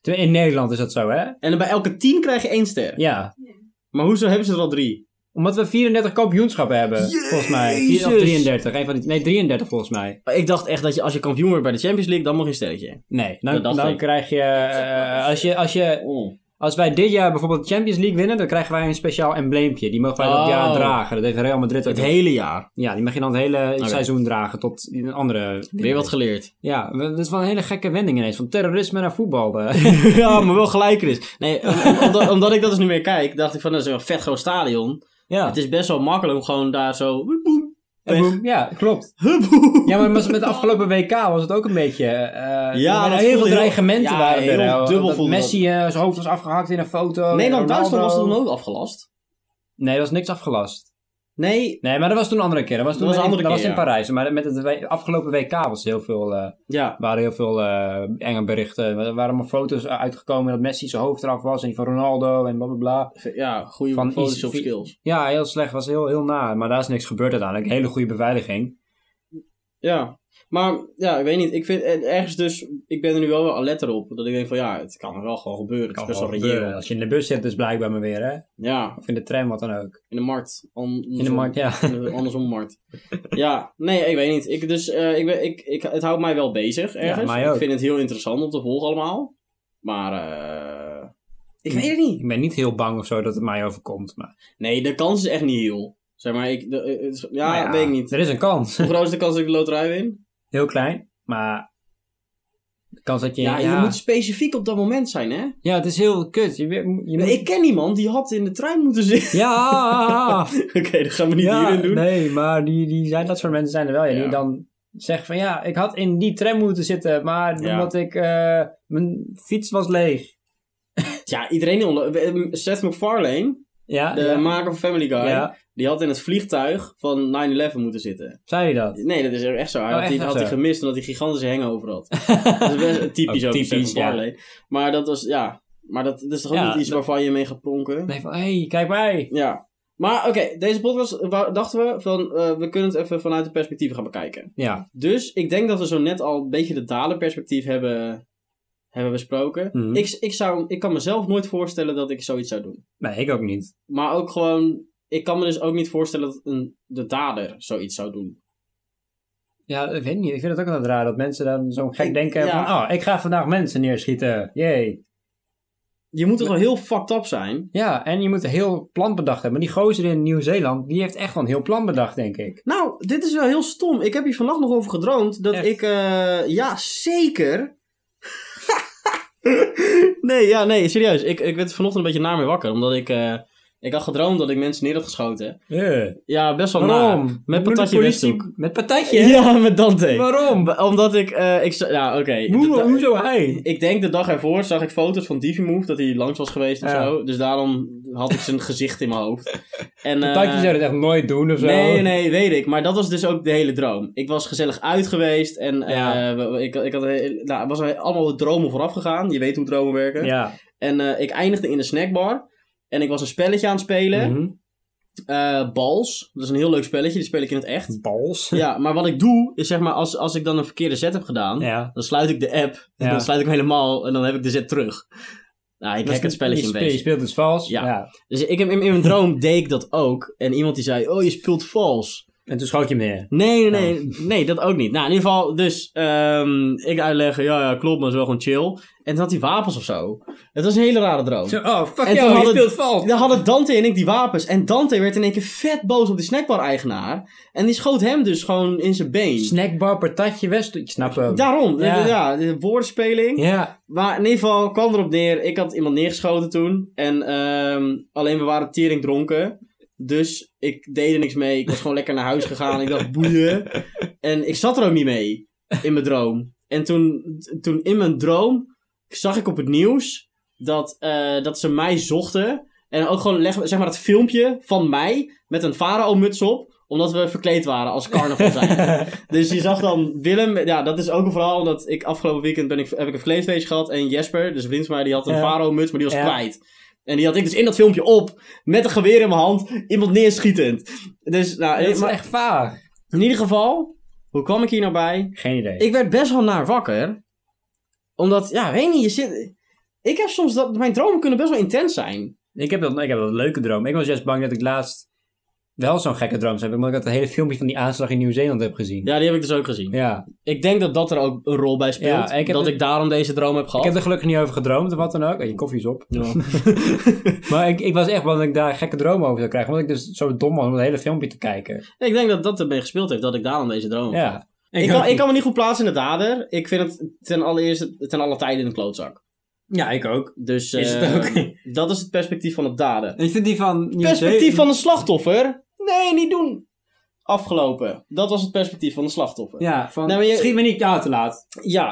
[SPEAKER 3] Terwijl In Nederland is dat zo, hè?
[SPEAKER 2] En dan bij elke 10 krijg je één ster.
[SPEAKER 3] Ja.
[SPEAKER 2] Maar hoezo hebben ze er al drie?
[SPEAKER 3] Omdat we 34 kampioenschappen hebben, volgens mij. Vier- Of
[SPEAKER 2] Jezus.
[SPEAKER 3] 33. Een van die, nee, 33 volgens mij.
[SPEAKER 2] Maar ik dacht echt dat je, als je kampioen wordt bij de Champions League, dan mag je een sterretje.
[SPEAKER 3] Nee, dan,
[SPEAKER 2] Dat dacht
[SPEAKER 3] dan
[SPEAKER 2] ik.
[SPEAKER 3] krijg je, eh, als je... Als je
[SPEAKER 2] Oh.
[SPEAKER 3] als wij dit jaar bijvoorbeeld de Champions League winnen, dan krijgen wij een speciaal embleempje. Die mogen wij dat
[SPEAKER 2] Oh.
[SPEAKER 3] jaar dragen. Dat heeft Real Madrid ook.
[SPEAKER 2] Het hele jaar.
[SPEAKER 3] Ja, die mag je dan het hele seizoen dragen tot een andere...
[SPEAKER 2] Weer wat geleerd.
[SPEAKER 3] Ja, we- dat is wel een hele gekke wending ineens. Van terrorisme naar voetbal. eh.
[SPEAKER 2] ja, maar wel gelijk, Chris. Nee, om- om- omdat, omdat ik dat dus niet meer kijk, dacht ik van, dat is een vet groot stadion.
[SPEAKER 3] ja.
[SPEAKER 2] Het is best wel makkelijk om gewoon daar zo... Boem,
[SPEAKER 3] En boem. ja, klopt.
[SPEAKER 2] boem.
[SPEAKER 3] Ja, maar met met de afgelopen WK was het ook een beetje... eh
[SPEAKER 2] Ja,
[SPEAKER 3] er
[SPEAKER 2] dat
[SPEAKER 3] waren heel veel
[SPEAKER 2] voelde heel-
[SPEAKER 3] dreigementen
[SPEAKER 2] ja,
[SPEAKER 3] waren er.
[SPEAKER 2] heel
[SPEAKER 3] eh,
[SPEAKER 2] dubbel
[SPEAKER 3] dat
[SPEAKER 2] voelde
[SPEAKER 3] Messi eh, zijn hoofd was afgehakt in een foto.
[SPEAKER 2] Nederland-Duitsland was
[SPEAKER 3] Ronaldo.
[SPEAKER 2] er dan ook afgelast.
[SPEAKER 3] Nee, er was niks afgelast.
[SPEAKER 2] Nee,
[SPEAKER 3] Nee, maar dat was toen een andere keer. Dat was, toen
[SPEAKER 2] Dat was een
[SPEAKER 3] in-
[SPEAKER 2] andere
[SPEAKER 3] dat
[SPEAKER 2] keer,
[SPEAKER 3] was in Parijs. Maar met het we- afgelopen WK was heel veel, eh,
[SPEAKER 2] ja.
[SPEAKER 3] waren heel veel eh, enge berichten. Er waren maar foto's uitgekomen dat Messi zijn hoofd eraf was. En die van Ronaldo en blablabla.
[SPEAKER 2] Ja, goede
[SPEAKER 3] Van
[SPEAKER 2] Photoshop
[SPEAKER 3] iets-
[SPEAKER 2] skills.
[SPEAKER 3] Ja, heel slecht. Was heel, heel naar. Maar daar is niks gebeurd uiteindelijk. Hele goede beveiliging.
[SPEAKER 2] Ja. Maar ja, ik weet niet. Ik vind eh, ergens dus... Ik ben er nu wel wel alert op. Dat ik denk van ja, het kan wel gewoon gebeuren. Het is best wel reëel.
[SPEAKER 3] Oh, eh, Als je in de bus zit, is blijkbaar maar weer, hè?
[SPEAKER 2] Ja,
[SPEAKER 3] Of in de tram, wat dan ook.
[SPEAKER 2] in de markt. Andersom.
[SPEAKER 3] In de markt, ja.
[SPEAKER 2] Eh, Andersom markt. ja, nee, ik weet niet. Ik, dus, eh, ik ben, ik, ik, het houdt mij wel bezig ergens.
[SPEAKER 3] mij ook.
[SPEAKER 2] Ik vind het heel interessant om te volgen allemaal. Maar eh, ik weet het niet.
[SPEAKER 3] Ik ben niet heel bang of zo dat het mij overkomt. Maar,
[SPEAKER 2] Nee, de kans is echt niet heel. Zeg maar, ik, de, eh, het is- ja,
[SPEAKER 3] maar
[SPEAKER 2] weet ik niet.
[SPEAKER 3] Er is een kans.
[SPEAKER 2] Hoe groot is de kans dat ik de loterij win?
[SPEAKER 3] Heel klein, maar de kans dat je...
[SPEAKER 2] Ja,
[SPEAKER 3] Ja,
[SPEAKER 2] je moet specifiek op dat moment zijn, hè?
[SPEAKER 3] ja, het is heel kut. Je, je moet...
[SPEAKER 2] Ik ken iemand die had in de trein moeten zitten.
[SPEAKER 3] Ja!
[SPEAKER 2] Oké, dat gaan we niet
[SPEAKER 3] ja,
[SPEAKER 2] hierin doen.
[SPEAKER 3] Nee, maar die, die zijn, dat soort mensen zijn er wel. Ja,
[SPEAKER 2] Ja.
[SPEAKER 3] Die dan zeggen van ja, ik had in die tram moeten zitten, maar
[SPEAKER 2] Ja.
[SPEAKER 3] omdat ik... eh, mijn fiets was leeg.
[SPEAKER 2] Ja, iedereen... die onlo- eh, Seth MacFarlane,
[SPEAKER 3] Ja,
[SPEAKER 2] de
[SPEAKER 3] ja.
[SPEAKER 2] maker van Family Guy,
[SPEAKER 3] Ja.
[SPEAKER 2] die had in het vliegtuig van 9-11 moeten zitten.
[SPEAKER 3] zei je dat?
[SPEAKER 2] Nee, dat is echt zo. Hij
[SPEAKER 3] Oh,
[SPEAKER 2] had,
[SPEAKER 3] echt
[SPEAKER 2] die,
[SPEAKER 3] zo?
[SPEAKER 2] had die gemist omdat hij gigantische hangover had. dat is best typisch
[SPEAKER 3] Ook
[SPEAKER 2] ook.
[SPEAKER 3] typisch,
[SPEAKER 2] Typisch,
[SPEAKER 3] ja.
[SPEAKER 2] ja. Maar dat was, ja. Maar dat, dat is toch ook
[SPEAKER 3] Ja,
[SPEAKER 2] niet iets
[SPEAKER 3] dat-
[SPEAKER 2] waarvan je mee gaat pronken?
[SPEAKER 3] Nee, van hé, hey, kijk mij.
[SPEAKER 2] Ja. Maar oké, deze podcast eh, wou- dachten we van, eh, we kunnen het even vanuit de perspectieven gaan bekijken.
[SPEAKER 3] Ja.
[SPEAKER 2] Dus ik denk dat we zo net al een beetje de dalenperspectief hebben, hebben besproken.
[SPEAKER 3] Mhm.
[SPEAKER 2] Ik, ik, zou, ik kan mezelf nooit voorstellen dat ik zoiets zou doen.
[SPEAKER 3] Nee, ik ook niet.
[SPEAKER 2] Maar ook gewoon, ik kan me dus ook niet voorstellen dat een, de dader zoiets zou doen.
[SPEAKER 3] Ja, ik weet niet. Ik vind het ook altijd raar dat mensen dan zo'n gek
[SPEAKER 2] Ik-
[SPEAKER 3] denken
[SPEAKER 2] ja.
[SPEAKER 3] van... Oh, ik ga vandaag mensen neerschieten. Jee.
[SPEAKER 2] Je moet toch wel heel fucked up zijn?
[SPEAKER 3] Ja, en je moet een heel plan bedacht hebben. Maar die gozer in Nieuw-Zeeland, die heeft echt wel een heel plan bedacht, denk ik.
[SPEAKER 2] Nou, dit is wel heel stom. Ik heb hier vannacht nog over gedroomd dat
[SPEAKER 3] Echt?
[SPEAKER 2] ik. eh, ja, zeker. nee, ja, nee, serieus. Ik, ik werd vanochtend een beetje naar mee wakker. Omdat ik. eh, ik had gedroomd dat ik mensen neer had geschoten. Ja, best wel
[SPEAKER 3] Waarom?
[SPEAKER 2] naar.
[SPEAKER 3] Moet
[SPEAKER 2] Met
[SPEAKER 3] de
[SPEAKER 2] patatje
[SPEAKER 3] politie-
[SPEAKER 2] Westhoek.
[SPEAKER 3] Met patatje?
[SPEAKER 2] Ja, met Dante.
[SPEAKER 3] Waarom?
[SPEAKER 2] Omdat ik. eh, ik za- ja, oké. De
[SPEAKER 3] Hoe,
[SPEAKER 2] da-
[SPEAKER 3] hoezo hij?
[SPEAKER 2] Ik denk de dag ervoor zag ik foto's van Divimove dat hij langs was geweest of
[SPEAKER 3] Ja.
[SPEAKER 2] zo. Dus daarom had ik zijn gezicht in mijn hoofd. En, eh,
[SPEAKER 3] Patatje zou dat echt nooit doen of zo.
[SPEAKER 2] Nee, nee, weet ik. Maar dat was dus ook de hele droom. Ik was gezellig uit geweest en
[SPEAKER 3] Ja.
[SPEAKER 2] eh, we- we- ik, ik had, eh, nou, was er allemaal dromen vooraf gegaan. Je weet hoe dromen werken.
[SPEAKER 3] Ja.
[SPEAKER 2] En eh, ik eindigde in een snackbar. En ik was een spelletje aan het spelen.
[SPEAKER 3] Mhm.
[SPEAKER 2] Eh, Bals. Dat is een heel leuk spelletje. Die speel ik in het
[SPEAKER 3] Mhm.
[SPEAKER 2] echt.
[SPEAKER 3] Bals.
[SPEAKER 2] ja, maar wat ik doe is zeg maar als, als ik dan een verkeerde set heb gedaan.
[SPEAKER 3] Ja.
[SPEAKER 2] Dan sluit ik de app. En
[SPEAKER 3] Ja.
[SPEAKER 2] dan sluit ik hem helemaal. En dan heb ik de set terug. Nou, ik
[SPEAKER 3] Dat is
[SPEAKER 2] hack het spelletje
[SPEAKER 3] je
[SPEAKER 2] een
[SPEAKER 3] spe-
[SPEAKER 2] beetje.
[SPEAKER 3] Je speelt het vals.
[SPEAKER 2] Ja.
[SPEAKER 3] Ja.
[SPEAKER 2] Dus ik heb in, in mijn droom deed ik dat ook. En iemand die zei, oh je speelt vals.
[SPEAKER 3] En toen schoot je hem neer.
[SPEAKER 2] Nee, nee, nee, nee, dat ook niet. Nou, in ieder geval, dus ehm, ik uitleggen, ja, ja, klopt, maar het is wel gewoon chill. En toen had hij wapens of zo. Het was een hele rare droom.
[SPEAKER 3] Zo, oh, fuck
[SPEAKER 2] En
[SPEAKER 3] jou,
[SPEAKER 2] toen
[SPEAKER 3] je
[SPEAKER 2] hadden-
[SPEAKER 3] speelt vals.
[SPEAKER 2] Dan hadden Dante en ik die wapens. En Dante werd in één keer vet boos op die snackbar-eigenaar. En die schoot hem dus gewoon in zijn been.
[SPEAKER 3] Snackbar, patatje, west. Ik snap hem.
[SPEAKER 2] Daarom, ja,
[SPEAKER 3] Ja.
[SPEAKER 2] ja de woordspeling.
[SPEAKER 3] Ja.
[SPEAKER 2] Maar in ieder geval kwam erop neer. Ik had iemand neergeschoten toen. En ehm, alleen we waren tering dronken. Dus ik deed er niks mee. Ik was gewoon lekker naar huis gegaan. Ik dacht boeien. En ik zat er ook niet mee in mijn droom. En toen, toen in mijn droom zag ik op het nieuws dat, eh, dat ze mij zochten. En ook gewoon leg, zeg maar dat filmpje van mij met een farao-muts op. Omdat we verkleed waren als carnaval zijn. Dus je zag dan Willem, ja, dat is ook een verhaal, omdat ik afgelopen weekend ben ik, heb ik een verkleedfeestje gehad en Jesper, dus een vriend van mij, die had een
[SPEAKER 3] Ja.
[SPEAKER 2] faro-muts, maar die was
[SPEAKER 3] Ja.
[SPEAKER 2] kwijt. En die had ik dus in dat filmpje op, met een geweer in mijn hand, iemand neerschietend. Dus, nou,
[SPEAKER 3] Dat is
[SPEAKER 2] maar
[SPEAKER 3] echt vaag.
[SPEAKER 2] in ieder geval, hoe kwam ik hier nou bij?
[SPEAKER 3] Geen idee.
[SPEAKER 2] Ik werd best wel naar wakker, omdat, ja, weet niet, je zit... Ik heb soms dat, mijn dromen kunnen best wel intens zijn.
[SPEAKER 3] Ik heb, dat, ik heb dat leuke droom. Ik was juist bang dat ik laatst wel zo'n gekke droom zou hebben. Omdat ik dat hele filmpje van die aanslag in Nieuw-Zeeland heb gezien.
[SPEAKER 2] Ja, die heb ik dus ook gezien.
[SPEAKER 3] Ja.
[SPEAKER 2] Ik denk dat dat er ook een rol bij speelt,
[SPEAKER 3] Ja, ik heb
[SPEAKER 2] dat
[SPEAKER 3] het-
[SPEAKER 2] ik daarom deze droom heb
[SPEAKER 3] Ik
[SPEAKER 2] gehad.
[SPEAKER 3] heb er gelukkig niet over gedroomd of wat dan ook. Eh, Je koffie is op. Maar ik, ik was echt bang dat ik daar gekke dromen over zou krijgen. Omdat ik dus zo dom was om het hele filmpje te kijken.
[SPEAKER 2] Ik denk dat dat ermee gespeeld heeft, dat ik daarom deze droom heb gehad.
[SPEAKER 3] Ja.
[SPEAKER 2] Ik
[SPEAKER 3] Oh. ook
[SPEAKER 2] kan, ik
[SPEAKER 3] niet.
[SPEAKER 2] kan me niet goed plaatsen in de dader. Ik vind het ten allereerste ten alle tijden een klootzak.
[SPEAKER 3] Ja, ik ook.
[SPEAKER 2] Dus
[SPEAKER 3] Is het
[SPEAKER 2] eh,
[SPEAKER 3] ook?
[SPEAKER 2] dat is het perspectief van het daden.
[SPEAKER 3] Ik vind die van
[SPEAKER 2] Perspectief van een slachtoffer? Nee, niet doen. Afgelopen. Dat was het perspectief van de slachtoffer. Ja,
[SPEAKER 3] Ja, van
[SPEAKER 2] Nou, maar je-
[SPEAKER 3] schiet me niet aan te laat.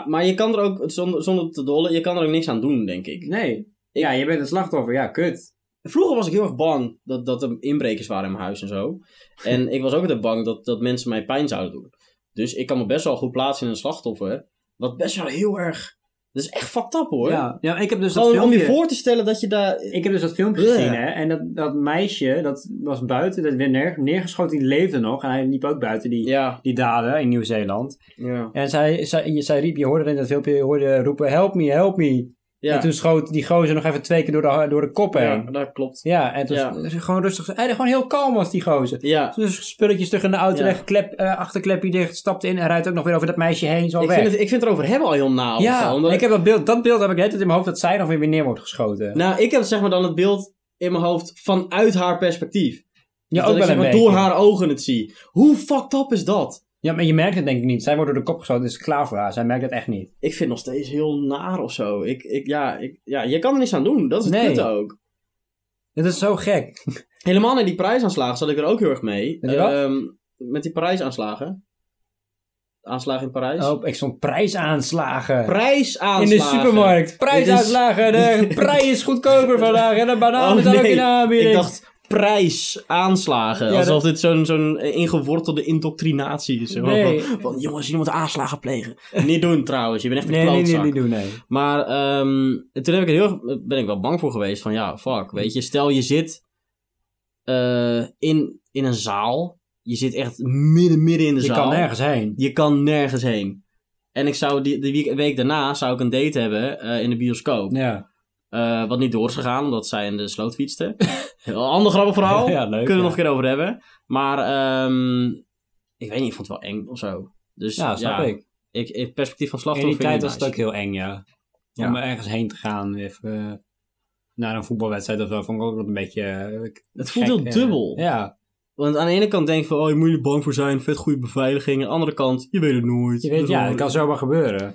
[SPEAKER 2] maar je kan er ook, zonder, zonder te dollen, je kan er ook niks aan doen, denk ik.
[SPEAKER 3] Nee. Ja, je bent een slachtoffer. Ja, kut.
[SPEAKER 2] Vroeger was ik heel erg bang dat, dat er inbrekers waren in mijn huis en zo. En ik was ook altijd bang dat, dat mensen mij pijn zouden doen. Dus ik kan me best wel goed plaatsen in een slachtoffer. Wat best wel heel erg... Dat is echt fucked up hoor.
[SPEAKER 3] Ja, ja, ik heb dus dat
[SPEAKER 2] Gewoon om je
[SPEAKER 3] filmpje...
[SPEAKER 2] voor te stellen dat je daar...
[SPEAKER 3] Ik heb dus dat filmpje
[SPEAKER 2] Ja.
[SPEAKER 3] gezien, hè. En dat, dat meisje, dat was buiten, dat werd neer, neergeschoten, die leefde nog. En hij liep ook buiten, die,
[SPEAKER 2] Ja,
[SPEAKER 3] die daden in Nieuw-Zeeland.
[SPEAKER 2] ja.
[SPEAKER 3] En zij, zij, je- zij riep, je hoorde in dat filmpje, je hoorde roepen, help me, help me.
[SPEAKER 2] Ja,
[SPEAKER 3] En toen schoot die gozer nog even twee keer door de, door de kop
[SPEAKER 2] ja
[SPEAKER 3] heen.
[SPEAKER 2] dat klopt.
[SPEAKER 3] Ja, en toen
[SPEAKER 2] Ja.
[SPEAKER 3] is gewoon rustig. En gewoon heel kalm was die gozer.
[SPEAKER 2] Ja,
[SPEAKER 3] Dus spulletjes terug in de auto
[SPEAKER 2] Ja.
[SPEAKER 3] weg, klep, eh, achterklepje dicht, stapte in en rijdt ook nog weer over dat meisje heen, zo
[SPEAKER 2] ik
[SPEAKER 3] weg.
[SPEAKER 2] vind, het, ik vind het erover hebben al heel nauw.
[SPEAKER 3] ja,
[SPEAKER 2] omdat
[SPEAKER 3] ik heb dat beeld, dat beeld heb ik net in mijn hoofd dat zij nog weer weer neer wordt geschoten.
[SPEAKER 2] Nou, ik heb zeg maar dan het beeld in mijn hoofd vanuit haar perspectief. Dus
[SPEAKER 3] ja,
[SPEAKER 2] dat
[SPEAKER 3] ook
[SPEAKER 2] ik
[SPEAKER 3] wel
[SPEAKER 2] zeg
[SPEAKER 3] een
[SPEAKER 2] maar
[SPEAKER 3] beetje.
[SPEAKER 2] door haar ogen het zie. Hoe fucked up is dat?
[SPEAKER 3] Ja, maar je merkt het denk ik niet. Zij wordt door de kop geschoten, dus het is klaar voor haar. Zij merkt het echt niet.
[SPEAKER 2] Ik vind het nog steeds heel naar of zo. Ik, ik, ja, ik, ja, je kan er niks aan doen. Dat is het
[SPEAKER 3] Nee.
[SPEAKER 2] kutte ook.
[SPEAKER 3] Dat is zo gek.
[SPEAKER 2] Helemaal in die prijsaanslagen zat ik er ook heel erg mee.
[SPEAKER 3] Met die wat?
[SPEAKER 2] Ehm, met die prijsaanslagen. Aanslagen in Parijs.
[SPEAKER 3] Oh, ik stond prijsaanslagen. in
[SPEAKER 2] Prijsaanslagen.
[SPEAKER 3] de supermarkt. Prijsuitlagen. De prij is goedkoper vandaag. En de banaan
[SPEAKER 2] Oh,
[SPEAKER 3] is Nou, dan ook
[SPEAKER 2] nee.
[SPEAKER 3] in de aanbieding.
[SPEAKER 2] Ik dacht prijsaanslagen.
[SPEAKER 3] Ja,
[SPEAKER 2] alsof dit zo'n zo'n ingewortelde indoctrinatie is.
[SPEAKER 3] Nee.
[SPEAKER 2] Van, van, jongens, je moet aanslagen plegen. Niet doen trouwens, je bent echt een
[SPEAKER 3] Nee, nee, nee,
[SPEAKER 2] klootzak.
[SPEAKER 3] niet doen, nee.
[SPEAKER 2] Maar ehm, toen heb ik er heel, erg- ben ik wel bang voor geweest. Van ja, fuck. Weet je, stel je zit eh, in, in een zaal. Je zit echt midden, midden in de
[SPEAKER 3] Je
[SPEAKER 2] zaal.
[SPEAKER 3] kan nergens heen.
[SPEAKER 2] Je kan nergens heen. En ik zou die, die week, week daarna zou ik een date hebben eh, in de bioscoop.
[SPEAKER 3] Ja.
[SPEAKER 2] Eh, wat niet door is gegaan, omdat zij in de sloot fietste. Heel ander grappig verhaal.
[SPEAKER 3] Ja, leuk,
[SPEAKER 2] Kunnen we
[SPEAKER 3] ja.
[SPEAKER 2] nog een keer over hebben. Maar ehm, ik weet niet, ik vond het wel eng of zo. Dus,
[SPEAKER 3] Ja, snap ik.
[SPEAKER 2] ik. In het perspectief van
[SPEAKER 3] In
[SPEAKER 2] slachtoffer
[SPEAKER 3] die
[SPEAKER 2] vind ik
[SPEAKER 3] tijd
[SPEAKER 2] niet
[SPEAKER 3] was het ook
[SPEAKER 2] nice.
[SPEAKER 3] heel eng, ja.
[SPEAKER 2] Ja.
[SPEAKER 3] Om ergens heen te gaan, even eh, naar een voetbalwedstrijd of zo, vond ik ook wel een beetje... eh,
[SPEAKER 2] Het voelt
[SPEAKER 3] gek,
[SPEAKER 2] heel
[SPEAKER 3] eh.
[SPEAKER 2] dubbel.
[SPEAKER 3] Ja,
[SPEAKER 2] Want aan de ene kant denk je van, oh, je moet je bang voor zijn, vet goede beveiliging. Aan de andere kant, je weet het nooit.
[SPEAKER 3] je weet, ja, het kan zomaar gebeuren.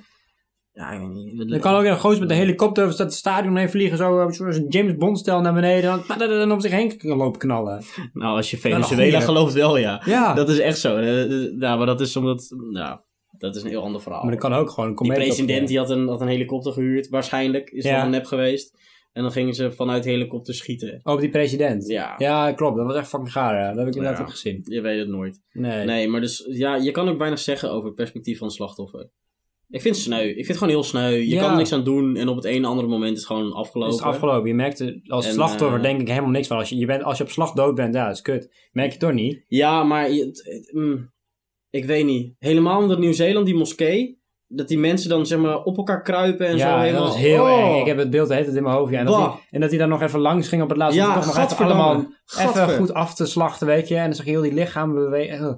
[SPEAKER 2] Ja, ik weet niet.
[SPEAKER 3] Er kan ook een goos met een helikopter over het stadion heen vliegen, zo eh, zoals een James Bond-stijl naar beneden, en dan- dan op zich heen kan lopen knallen.
[SPEAKER 2] Nou, als je
[SPEAKER 3] een
[SPEAKER 2] Venezuela
[SPEAKER 3] goeie.
[SPEAKER 2] gelooft wel, ja.
[SPEAKER 3] Ja,
[SPEAKER 2] Dat is echt zo. Eh, Nou, maar dat is omdat, nou, dat is een heel ander verhaal.
[SPEAKER 3] maar dat kan ook gewoon een
[SPEAKER 2] Die
[SPEAKER 3] comedie
[SPEAKER 2] president die had een, had een helikopter gehuurd, waarschijnlijk. Is
[SPEAKER 3] Ja.
[SPEAKER 2] van een nep geweest. En dan gingen ze vanuit de helikopter schieten.
[SPEAKER 3] Op die president.
[SPEAKER 2] Ja.
[SPEAKER 3] Ja, klopt. Dat was echt fucking gaar. ja. Dat heb ik inderdaad
[SPEAKER 2] Ja.
[SPEAKER 3] ook gezien.
[SPEAKER 2] Je weet het nooit.
[SPEAKER 3] Nee.
[SPEAKER 2] Nee, maar dus ja, je kan ook weinig zeggen over het perspectief van het slachtoffer. Ik vind het sneu. Ik vind het gewoon heel sneu. Je
[SPEAKER 3] Ja.
[SPEAKER 2] kan er niks aan doen en op het een of andere moment is het gewoon
[SPEAKER 3] Het
[SPEAKER 2] afgelopen.
[SPEAKER 3] is afgelopen. Je merkt er als
[SPEAKER 2] En,
[SPEAKER 3] slachtoffer
[SPEAKER 2] eh,
[SPEAKER 3] denk ik helemaal niks van. Als je, je bent, als je op slag dood bent, ja, dat is kut. Merk je toch niet?
[SPEAKER 2] Ja, maar je- het- het- mm, ik weet niet. Helemaal omdat Nieuw-Zeeland, die moskee, dat die mensen dan zeg maar op elkaar kruipen en zo
[SPEAKER 3] ja,
[SPEAKER 2] helemaal.
[SPEAKER 3] dat was heel
[SPEAKER 2] Oh.
[SPEAKER 3] eng. Ik heb het beeld de hele tijd in mijn hoofd. Ja. En, dat
[SPEAKER 2] Bah.
[SPEAKER 3] hij, en dat hij dan nog even langs ging op het laatste.
[SPEAKER 2] Ja,
[SPEAKER 3] om toch nog even
[SPEAKER 2] gadverdamme.
[SPEAKER 3] allemaal even
[SPEAKER 2] Gadver.
[SPEAKER 3] goed af te slachten, weet je. En dan zag je heel die lichaam bewegen. Ugh.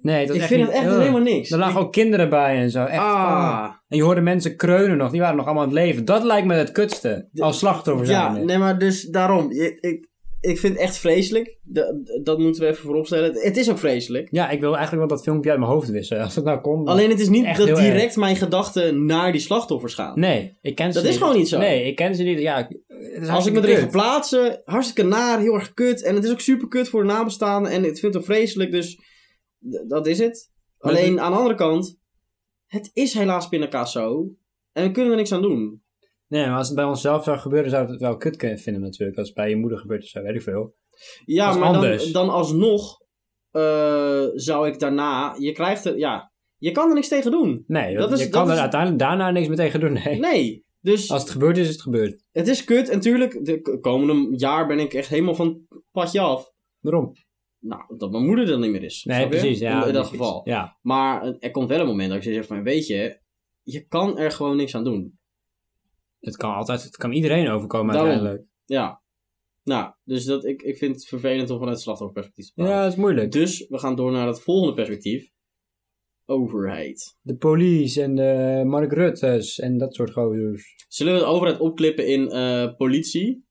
[SPEAKER 3] Nee, dat
[SPEAKER 2] Ik
[SPEAKER 3] is
[SPEAKER 2] vind het
[SPEAKER 3] niet-
[SPEAKER 2] echt
[SPEAKER 3] ugh.
[SPEAKER 2] helemaal niks.
[SPEAKER 3] Er lagen ook kinderen bij en zo. Echt. ah.
[SPEAKER 2] ah.
[SPEAKER 3] En je hoorde mensen kreunen nog. Die waren nog allemaal aan het leven. Dat lijkt me het kutste. Als slachtoffer
[SPEAKER 2] Ja,
[SPEAKER 3] zijn.
[SPEAKER 2] nee, maar dus daarom. Ik, ik, ik vind het echt vreselijk. Da- dat moeten we even vooropstellen. Het- Het is ook vreselijk.
[SPEAKER 3] Ja, ik wil eigenlijk wel dat filmpje uit mijn hoofd wissen. Als dat nou kon. dan-
[SPEAKER 2] Alleen het is niet
[SPEAKER 3] Echt
[SPEAKER 2] dat
[SPEAKER 3] heel erg.
[SPEAKER 2] direct mijn gedachten naar die slachtoffers gaan.
[SPEAKER 3] Nee, ik ken ze
[SPEAKER 2] Dat
[SPEAKER 3] niet.
[SPEAKER 2] is gewoon niet zo.
[SPEAKER 3] Nee, ik ken ze niet. Ja, ik- het is
[SPEAKER 2] Als ik me
[SPEAKER 3] hartstikke
[SPEAKER 2] erin ga
[SPEAKER 3] kut.
[SPEAKER 2] plaatsen, hartstikke naar, heel erg kut. En het is ook super kut voor de nabestaanden. En ik vind het ook vreselijk, dus d- dat is het.
[SPEAKER 3] Maar
[SPEAKER 2] Alleen aan de andere kant, het is helaas pindakaas zo. En we kunnen er niks aan doen.
[SPEAKER 3] Nee, maar als het bij onszelf zou gebeuren, zou ik het wel kut kunnen vinden natuurlijk. Als het bij je moeder gebeurt, of zo weet ik veel.
[SPEAKER 2] Ja,
[SPEAKER 3] Dat is
[SPEAKER 2] maar dan,
[SPEAKER 3] anders.
[SPEAKER 2] dan alsnog eh, zou ik daarna. Je krijgt er. Ja, je kan er niks tegen doen.
[SPEAKER 3] Nee,
[SPEAKER 2] Dat
[SPEAKER 3] dat
[SPEAKER 2] is-
[SPEAKER 3] je
[SPEAKER 2] dat
[SPEAKER 3] kan
[SPEAKER 2] is-
[SPEAKER 3] er uiteindelijk daarna niks meer tegen doen. Nee.
[SPEAKER 2] Nee. Dus
[SPEAKER 3] Als het gebeurd is, is het gebeurd.
[SPEAKER 2] het is kut. En tuurlijk, de k- komende jaar ben ik echt helemaal van het padje af.
[SPEAKER 3] Waarom?
[SPEAKER 2] Nou, dat mijn moeder er niet meer is.
[SPEAKER 3] Nee,
[SPEAKER 2] snap je?
[SPEAKER 3] precies. Ja,
[SPEAKER 2] In, in dat
[SPEAKER 3] precies.
[SPEAKER 2] geval.
[SPEAKER 3] Ja.
[SPEAKER 2] Maar er komt wel een moment dat ik zeg van, weet je, je kan er gewoon niks aan doen.
[SPEAKER 3] Het kan altijd, het kan iedereen overkomen
[SPEAKER 2] Daarom.
[SPEAKER 3] uiteindelijk.
[SPEAKER 2] Ja. Nou, dus dat, ik, ik vind het vervelend om vanuit het slachtofferperspectief te praten.
[SPEAKER 3] Ja, dat is moeilijk.
[SPEAKER 2] Dus we gaan door naar het volgende perspectief. Overheid.
[SPEAKER 3] De police en de Mark Rutte's en dat soort gozers.
[SPEAKER 2] Zullen we de overheid opklippen in eh, politie?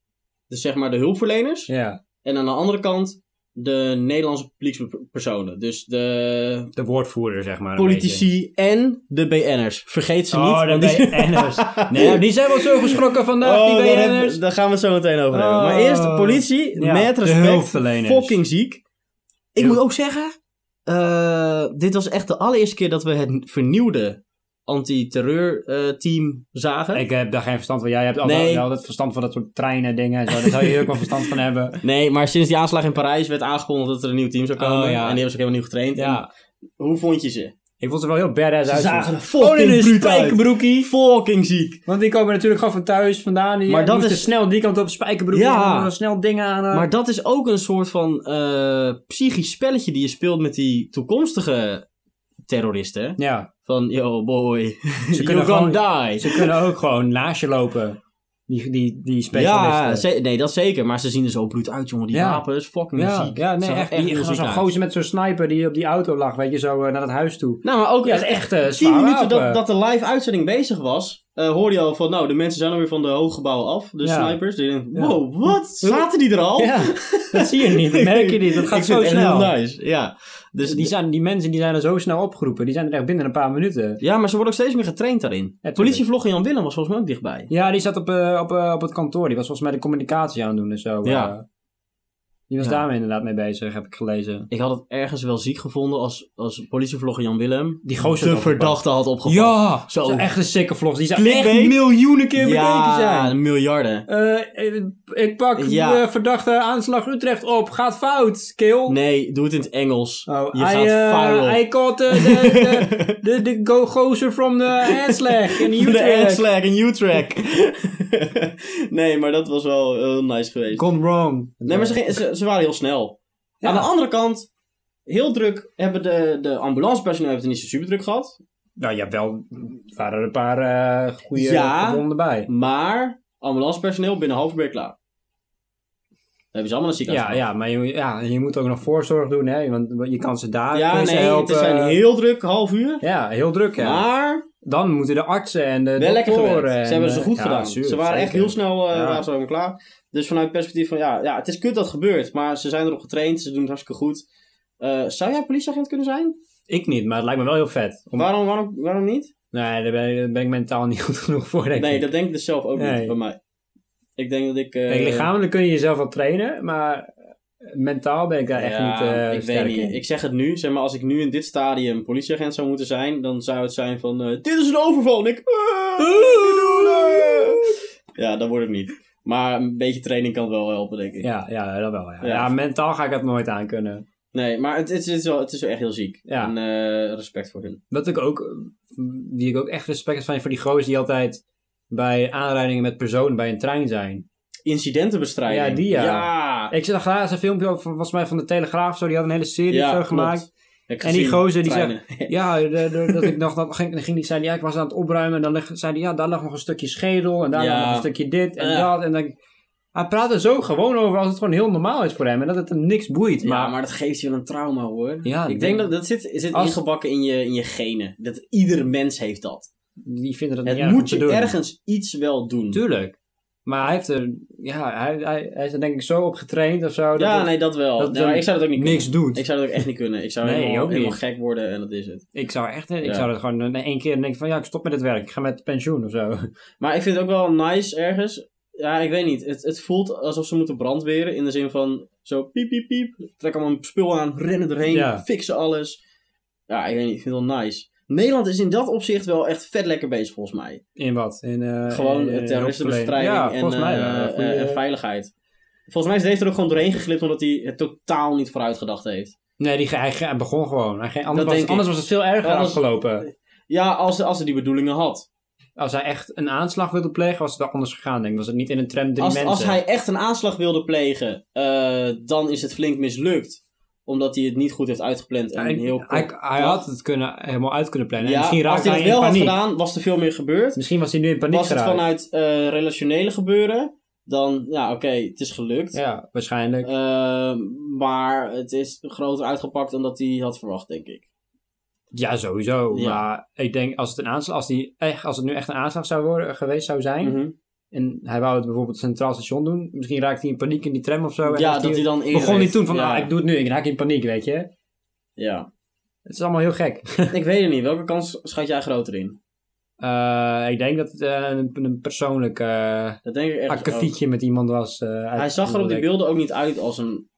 [SPEAKER 2] Dus zeg maar de hulpverleners.
[SPEAKER 3] Ja,
[SPEAKER 2] En aan de andere kant de Nederlandse publiekspersonen. Dus de
[SPEAKER 3] de woordvoerder zeg maar. een
[SPEAKER 2] politici en de BN'ers. Vergeet
[SPEAKER 3] beetje.
[SPEAKER 2] ze niet.
[SPEAKER 3] Oh, de
[SPEAKER 2] want die-
[SPEAKER 3] BN'ers. Nee, nou, die zijn wel zo geschrokken vandaag,
[SPEAKER 2] Oh,
[SPEAKER 3] die
[SPEAKER 2] daar hebben-
[SPEAKER 3] BN'ers.
[SPEAKER 2] Daar gaan we het zo meteen over hebben.
[SPEAKER 3] Oh.
[SPEAKER 2] Maar eerst de politie,
[SPEAKER 3] Ja,
[SPEAKER 2] met
[SPEAKER 3] de
[SPEAKER 2] respect,
[SPEAKER 3] hulpverleners.
[SPEAKER 2] fucking ziek. Ik
[SPEAKER 3] Ja.
[SPEAKER 2] moet ook zeggen, eh, dit was echt de allereerste keer dat we het vernieuwde
[SPEAKER 3] eh,
[SPEAKER 2] anti-terreurteam zagen.
[SPEAKER 3] Ik heb daar geen verstand van. Jij hebt altijd,
[SPEAKER 2] Nee.
[SPEAKER 3] wel altijd verstand van dat soort treinen en dingen. en Zo. Daar zou je ook wel verstand van hebben.
[SPEAKER 2] Nee, maar sinds die aanslag in Parijs werd aangekondigd dat er een nieuw team zou komen.
[SPEAKER 3] Oh,
[SPEAKER 2] En die
[SPEAKER 3] ja.
[SPEAKER 2] hebben ze ook helemaal nieuw getraind.
[SPEAKER 3] Ja.
[SPEAKER 2] En hoe vond je ze?
[SPEAKER 3] Ik vond ze wel heel badass uit.
[SPEAKER 2] Gewoon in een
[SPEAKER 3] spijkerbroek.
[SPEAKER 2] spijkerbroekie. Fucking ziek.
[SPEAKER 3] Want die komen natuurlijk gewoon van thuis vandaan. Die
[SPEAKER 2] Maar
[SPEAKER 3] maar
[SPEAKER 2] dat
[SPEAKER 3] dat
[SPEAKER 2] is-
[SPEAKER 3] snel die kant op spijkerbroek.
[SPEAKER 2] Ja.
[SPEAKER 3] Ja. snel dingen aan. eh.
[SPEAKER 2] Maar dat is ook een soort van eh, psychisch spelletje die je speelt met die toekomstige terroristen.
[SPEAKER 3] Ja.
[SPEAKER 2] Van, yo boy, you
[SPEAKER 3] kunnen
[SPEAKER 2] gonna
[SPEAKER 3] gewoon-
[SPEAKER 2] die.
[SPEAKER 3] Ze kunnen ook gewoon naast je lopen. Die, die, die
[SPEAKER 2] Ja,
[SPEAKER 3] specialisten.
[SPEAKER 2] ze- nee, dat zeker. Maar ze zien er zo bloed uit, jongen. Die
[SPEAKER 3] Ja.
[SPEAKER 2] wapens, fucking
[SPEAKER 3] Ja,
[SPEAKER 2] ziek.
[SPEAKER 3] ja,
[SPEAKER 2] Ze
[SPEAKER 3] nee,
[SPEAKER 2] zag
[SPEAKER 3] echt.
[SPEAKER 2] er
[SPEAKER 3] die-
[SPEAKER 2] heel
[SPEAKER 3] gewoon
[SPEAKER 2] ziek
[SPEAKER 3] Zo'n
[SPEAKER 2] uit.
[SPEAKER 3] gozer met zo'n sniper die op die auto lag, weet je, zo eh, naar het huis toe.
[SPEAKER 2] Nou, maar ook
[SPEAKER 3] Ja, dat
[SPEAKER 2] echt
[SPEAKER 3] is echt eh
[SPEAKER 2] tien
[SPEAKER 3] zwaar
[SPEAKER 2] minuten
[SPEAKER 3] wapen.
[SPEAKER 2] dat, dat de live uitzending bezig was, eh, hoorde je al van, nou, de mensen zijn alweer van de hooggebouwen af, de
[SPEAKER 3] Ja.
[SPEAKER 2] snipers. Die denken,
[SPEAKER 3] Ja.
[SPEAKER 2] wow, wat? Zaten die er al?
[SPEAKER 3] Ja, dat zie je niet, dat merk je niet. Dat gaat
[SPEAKER 2] Ik vind
[SPEAKER 3] zo
[SPEAKER 2] het echt
[SPEAKER 3] snel.
[SPEAKER 2] heel nice, ja. Dus
[SPEAKER 3] Dus die,
[SPEAKER 2] die
[SPEAKER 3] zijn, die mensen die zijn er zo snel opgeroepen, die zijn er echt binnen een paar minuten.
[SPEAKER 2] ja, maar ze worden ook steeds meer getraind daarin.
[SPEAKER 3] tuurlijk.
[SPEAKER 2] Politievlogger Jan Willem was volgens mij ook dichtbij.
[SPEAKER 3] Ja, die zat op, eh, op, eh, op het kantoor. Die was volgens mij de communicatie aan het doen en zo.
[SPEAKER 2] Ja.
[SPEAKER 3] eh. die was
[SPEAKER 2] Ja.
[SPEAKER 3] daarmee inderdaad mee bezig, heb ik gelezen.
[SPEAKER 2] Ik had het ergens wel ziek gevonden als, als politievlogger Jan Willem
[SPEAKER 3] Die gozer
[SPEAKER 2] de
[SPEAKER 3] had opgepakt.
[SPEAKER 2] verdachte had opgepakt.
[SPEAKER 3] Ja,
[SPEAKER 2] Zo.
[SPEAKER 3] zo. echt een sikke vlogs. Die zijn
[SPEAKER 2] Clickbait.
[SPEAKER 3] echt miljoenen keer bekeken
[SPEAKER 2] ja
[SPEAKER 3] zijn.
[SPEAKER 2] miljarden.
[SPEAKER 3] Eh, eh, ik pak
[SPEAKER 2] Ja.
[SPEAKER 3] de verdachte aanslag Utrecht op. Gaat fout, kill.
[SPEAKER 2] Nee, doe het in het Engels.
[SPEAKER 3] Oh,
[SPEAKER 2] Je
[SPEAKER 3] I,
[SPEAKER 2] gaat
[SPEAKER 3] eh,
[SPEAKER 2] viral.
[SPEAKER 3] I caught eh, de, de, de, de go gozer from the Aslag in
[SPEAKER 2] De
[SPEAKER 3] Utrecht.
[SPEAKER 2] Airslag in U-Track. nee, maar dat was wel heel nice geweest.
[SPEAKER 3] Gone wrong.
[SPEAKER 2] Nee, maar ze, ging- ze, ze waren heel snel.
[SPEAKER 3] Ja.
[SPEAKER 2] Aan de andere kant, heel druk hebben de, de ambulancepersoneel heeft het niet zo super druk gehad.
[SPEAKER 3] Nou ja, wel waren er een paar eh, goede
[SPEAKER 2] Ja.
[SPEAKER 3] ronden bij.
[SPEAKER 2] Maar ambulancepersoneel binnen half uur weer klaar. Dan hebben ze allemaal een ziekenhuis.
[SPEAKER 3] Ja, ja, maar je, ja, je moet ook nog voorzorg doen, hè? Want je kan ze daar
[SPEAKER 2] ja
[SPEAKER 3] kun je ze
[SPEAKER 2] nee,
[SPEAKER 3] helpen.
[SPEAKER 2] het zijn heel druk, half uur.
[SPEAKER 3] Ja, heel druk, ja.
[SPEAKER 2] Maar
[SPEAKER 3] Dan moeten de artsen en de
[SPEAKER 2] wel lekker
[SPEAKER 3] doktoren
[SPEAKER 2] gewerkt.
[SPEAKER 3] en,
[SPEAKER 2] Ze hebben ze
[SPEAKER 3] eh,
[SPEAKER 2] goed
[SPEAKER 3] ja,
[SPEAKER 2] gedaan.
[SPEAKER 3] zuur,
[SPEAKER 2] ze waren echt
[SPEAKER 3] zeker.
[SPEAKER 2] heel snel eh,
[SPEAKER 3] Ja.
[SPEAKER 2] waren ze helemaal klaar. Dus vanuit het perspectief van, ja, ja, het is kut dat het gebeurt. Maar ze zijn erop getraind, ze doen het hartstikke goed. Eh, zou jij politieagent kunnen zijn?
[SPEAKER 3] Ik niet, maar het lijkt me wel heel vet. Om-
[SPEAKER 2] Waarom, waarom, waarom niet?
[SPEAKER 3] Nee, daar ben, daar ben ik mentaal niet goed genoeg voor, denk
[SPEAKER 2] Nee,
[SPEAKER 3] ik.
[SPEAKER 2] dat denk ik dus zelf ook
[SPEAKER 3] Nee.
[SPEAKER 2] niet bij mij. Ik denk dat ik... eh,
[SPEAKER 3] Kijk, lichamelijk kun je jezelf wel trainen, maar eh, mentaal ben ik daar echt
[SPEAKER 2] ja,
[SPEAKER 3] niet eh
[SPEAKER 2] ik
[SPEAKER 3] sterk
[SPEAKER 2] weet niet.
[SPEAKER 3] in.
[SPEAKER 2] Ik zeg het nu. Zeg maar, als ik nu in dit stadium politieagent zou moeten zijn, dan zou het zijn van... eh, dit is een overval! En ik... "Ah, ik doe het." Ja, dat wordt het niet. Maar een beetje training kan het wel helpen, denk ik.
[SPEAKER 3] Ja, ja, dat wel. Ja.
[SPEAKER 2] Ja.
[SPEAKER 3] Ja. mentaal ga ik dat nooit aan kunnen.
[SPEAKER 2] Nee, maar het, het, is wel, het is wel echt heel ziek.
[SPEAKER 3] Ja.
[SPEAKER 2] En eh, respect voor hun.
[SPEAKER 3] Wat ik ook, die ik ook echt respect heb van voor die gozer die altijd bij aanrijdingen met personen bij een trein zijn.
[SPEAKER 2] Incidentenbestrijding.
[SPEAKER 3] Ja, die ja.
[SPEAKER 2] Ja.
[SPEAKER 3] Ik zag laatst een filmpje over, volgens mij van de Telegraaf, zo, die had een hele serie
[SPEAKER 2] Ja,
[SPEAKER 3] zo
[SPEAKER 2] klopt.
[SPEAKER 3] gemaakt.
[SPEAKER 2] Heb ik
[SPEAKER 3] En die
[SPEAKER 2] gezien.
[SPEAKER 3] gozer die
[SPEAKER 2] Treinen.
[SPEAKER 3] Ja, de- de- dat ik nog, dat ging, ging die, zei die, ja, ik was aan het opruimen en dan leg- zei die, ja, daar lag nog een stukje schedel en daar
[SPEAKER 2] Ja.
[SPEAKER 3] lag nog een stukje dit en
[SPEAKER 2] Ja.
[SPEAKER 3] dat. En dan, hij praat er zo gewoon over als het gewoon heel normaal is voor hem en dat het hem niks boeit.
[SPEAKER 2] Ja, maar,
[SPEAKER 3] maar
[SPEAKER 2] dat geeft je wel een trauma hoor.
[SPEAKER 3] Ja,
[SPEAKER 2] ik
[SPEAKER 3] ik
[SPEAKER 2] denk
[SPEAKER 3] denk-
[SPEAKER 2] dat dat zit, zit
[SPEAKER 3] Als-
[SPEAKER 2] ingebakken in je, in je genen. Dat ieder mens heeft dat.
[SPEAKER 3] die vinden dat
[SPEAKER 2] Het
[SPEAKER 3] niet erg om
[SPEAKER 2] moet
[SPEAKER 3] te
[SPEAKER 2] je
[SPEAKER 3] doen.
[SPEAKER 2] ergens iets wel doen.
[SPEAKER 3] Tuurlijk. Maar hij heeft er, ja, hij, hij, hij is er denk ik zo op getraind of zo. dat
[SPEAKER 2] ja,
[SPEAKER 3] het
[SPEAKER 2] nee, dat wel.
[SPEAKER 3] dat
[SPEAKER 2] Nee, maar
[SPEAKER 3] dan
[SPEAKER 2] ik zou dat ook niet kunnen.
[SPEAKER 3] niks doet.
[SPEAKER 2] Ik zou dat ook echt niet kunnen. Ik zou
[SPEAKER 3] Nee,
[SPEAKER 2] helemaal,
[SPEAKER 3] ook
[SPEAKER 2] helemaal
[SPEAKER 3] niet.
[SPEAKER 2] gek worden en dat is het.
[SPEAKER 3] Ik zou echt, ik
[SPEAKER 2] Ja.
[SPEAKER 3] zou dat gewoon in één keer denken van ja, ik stop met het werk, ik ga met pensioen of zo.
[SPEAKER 2] Maar ik vind het ook wel nice ergens. Ja, ik weet niet. Het, het voelt alsof ze moeten brandweren. In de zin van zo piep, piep, piep. Trek allemaal een spul aan, rennen erheen,
[SPEAKER 3] Ja.
[SPEAKER 2] fixen alles. Ja, ik weet niet. Ik vind het wel nice. Nederland is in dat opzicht wel echt vet lekker bezig volgens mij.
[SPEAKER 3] In wat? In, eh,
[SPEAKER 2] Gewoon
[SPEAKER 3] in- in-
[SPEAKER 2] eh,
[SPEAKER 3] in
[SPEAKER 2] terroristenbestrijding
[SPEAKER 3] hulpverlening. Ja,
[SPEAKER 2] en,
[SPEAKER 3] volgens mij.
[SPEAKER 2] eh,
[SPEAKER 3] wel.
[SPEAKER 2] eh,
[SPEAKER 3] Goeie-
[SPEAKER 2] en veiligheid. Volgens mij is deze er ook gewoon doorheen geglipt omdat hij het totaal niet vooruitgedacht heeft.
[SPEAKER 3] nee, die, ge- hij, ge- hij begon gewoon. Hij, ging-
[SPEAKER 2] Dat
[SPEAKER 3] anders
[SPEAKER 2] denk
[SPEAKER 3] was,
[SPEAKER 2] ik.
[SPEAKER 3] anders was het veel erger
[SPEAKER 2] Anders-
[SPEAKER 3] afgelopen.
[SPEAKER 2] Ja, als, als hij die bedoelingen had.
[SPEAKER 3] Als hij echt een aanslag wilde plegen, was het wel anders gegaan. Denk. ik. Was het niet in een tram drie
[SPEAKER 2] Als,
[SPEAKER 3] mensen.
[SPEAKER 2] als hij echt een aanslag wilde plegen, eh, dan is het flink mislukt. Omdat hij het niet goed heeft uitgepland en
[SPEAKER 3] hij,
[SPEAKER 2] heel kort-
[SPEAKER 3] hij, hij had het kunnen, helemaal uit kunnen plannen. En
[SPEAKER 2] Ja,
[SPEAKER 3] misschien
[SPEAKER 2] als
[SPEAKER 3] raakte
[SPEAKER 2] hij
[SPEAKER 3] hij
[SPEAKER 2] dat
[SPEAKER 3] in
[SPEAKER 2] wel had
[SPEAKER 3] paniek.
[SPEAKER 2] gedaan, was er veel meer gebeurd.
[SPEAKER 3] Misschien was hij nu in paniek
[SPEAKER 2] was het
[SPEAKER 3] geraakt.
[SPEAKER 2] vanuit eh, relationele gebeuren, dan ja, oké, het is gelukt.
[SPEAKER 3] Ja, waarschijnlijk.
[SPEAKER 2] Ehm, maar het is groter uitgepakt dan dat hij had verwacht, denk ik.
[SPEAKER 3] ja, sowieso.
[SPEAKER 2] Ja.
[SPEAKER 3] Maar ik denk, als het, een aanslag, als, die echt, als het nu echt een aanslag zou worden, geweest zou zijn...
[SPEAKER 2] Mhm.
[SPEAKER 3] En hij wou het bijvoorbeeld centraal station doen. Misschien raakte hij in paniek in die tram of zo. En
[SPEAKER 2] Ja,
[SPEAKER 3] heeft
[SPEAKER 2] dat hij dan eerder
[SPEAKER 3] Begon hij
[SPEAKER 2] heeft-
[SPEAKER 3] toen van,
[SPEAKER 2] ja.
[SPEAKER 3] ah, ik doe het nu. Ik raak in paniek, weet je.
[SPEAKER 2] Ja.
[SPEAKER 3] Het is allemaal heel gek.
[SPEAKER 2] ik weet het niet. Welke kans schat jij groter in?
[SPEAKER 3] Eh, ik denk dat het eh, een, een persoonlijk eh
[SPEAKER 2] Dat denk ik echt.
[SPEAKER 3] akkefietje met iemand was. eh, uit-
[SPEAKER 2] Hij zag er op die beelden ook niet uit als een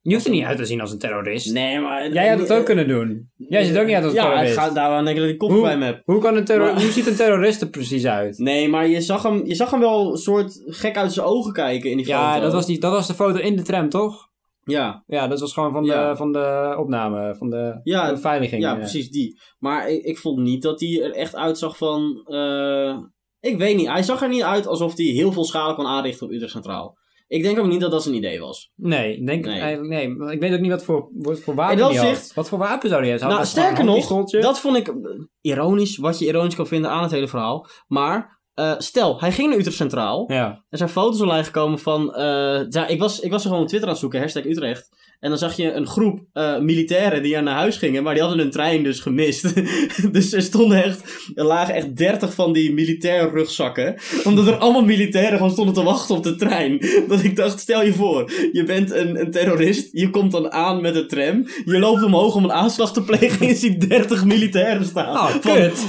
[SPEAKER 3] Je hoeft er niet uit te zien als een terrorist.
[SPEAKER 2] Nee, maar...
[SPEAKER 3] Jij had het ook kunnen doen. Jij ziet er ook niet uit als een
[SPEAKER 2] Ja, ik
[SPEAKER 3] terrorist.
[SPEAKER 2] ga daaraan denken dat ik koffie
[SPEAKER 3] Hoe,
[SPEAKER 2] bij me heb.
[SPEAKER 3] hoe, kan een terror
[SPEAKER 2] Maar-
[SPEAKER 3] hoe ziet een terrorist er precies uit?
[SPEAKER 2] Nee, maar je zag hem, je zag hem wel een soort gek uit zijn ogen kijken in die
[SPEAKER 3] Ja,
[SPEAKER 2] foto.
[SPEAKER 3] dat was, die, dat was de foto in de tram, toch?
[SPEAKER 2] Ja,
[SPEAKER 3] Ja, dat was gewoon van de,
[SPEAKER 2] Ja.
[SPEAKER 3] van de opname, van de
[SPEAKER 2] Ja,
[SPEAKER 3] de beveiliging.
[SPEAKER 2] ja
[SPEAKER 3] eh.
[SPEAKER 2] precies die. Maar ik, ik vond niet dat hij er echt uitzag van... eh, ik weet niet, hij zag er niet uit alsof hij heel veel schade kon aanrichten op Utrecht Centraal. Ik denk ook niet dat dat zijn idee was.
[SPEAKER 3] Nee, ik denk
[SPEAKER 2] Nee.
[SPEAKER 3] eigenlijk nee. want Ik weet ook niet wat voor, wat voor wapen
[SPEAKER 2] In dat
[SPEAKER 3] die had.
[SPEAKER 2] opzicht-
[SPEAKER 3] Wat voor wapen zou die hebben?
[SPEAKER 2] nou,
[SPEAKER 3] Had hij gewoon
[SPEAKER 2] sterker
[SPEAKER 3] een
[SPEAKER 2] nog,
[SPEAKER 3] handpistooltje?
[SPEAKER 2] dat vond ik eh, ironisch, wat je ironisch kan vinden aan het hele verhaal. Maar eh, stel, hij ging naar Utrecht Centraal.
[SPEAKER 3] Ja,
[SPEAKER 2] Er zijn foto's online gekomen van. eh, ja, ik, was, ik was er gewoon op Twitter aan het zoeken, hashtag Utrecht. En dan zag je een groep eh, militairen die er naar huis gingen, maar die hadden hun trein dus gemist. dus er stonden echt. Er lagen echt 30 van die militair rugzakken. Omdat er allemaal militairen gewoon stonden te wachten op de trein. Dat ik dacht, stel je voor, je bent een, een terrorist. Je komt dan aan met een tram. Je loopt omhoog om een aanslag te plegen en je ziet 30 militairen staan.
[SPEAKER 3] Oh,
[SPEAKER 2] Van,
[SPEAKER 3] kut.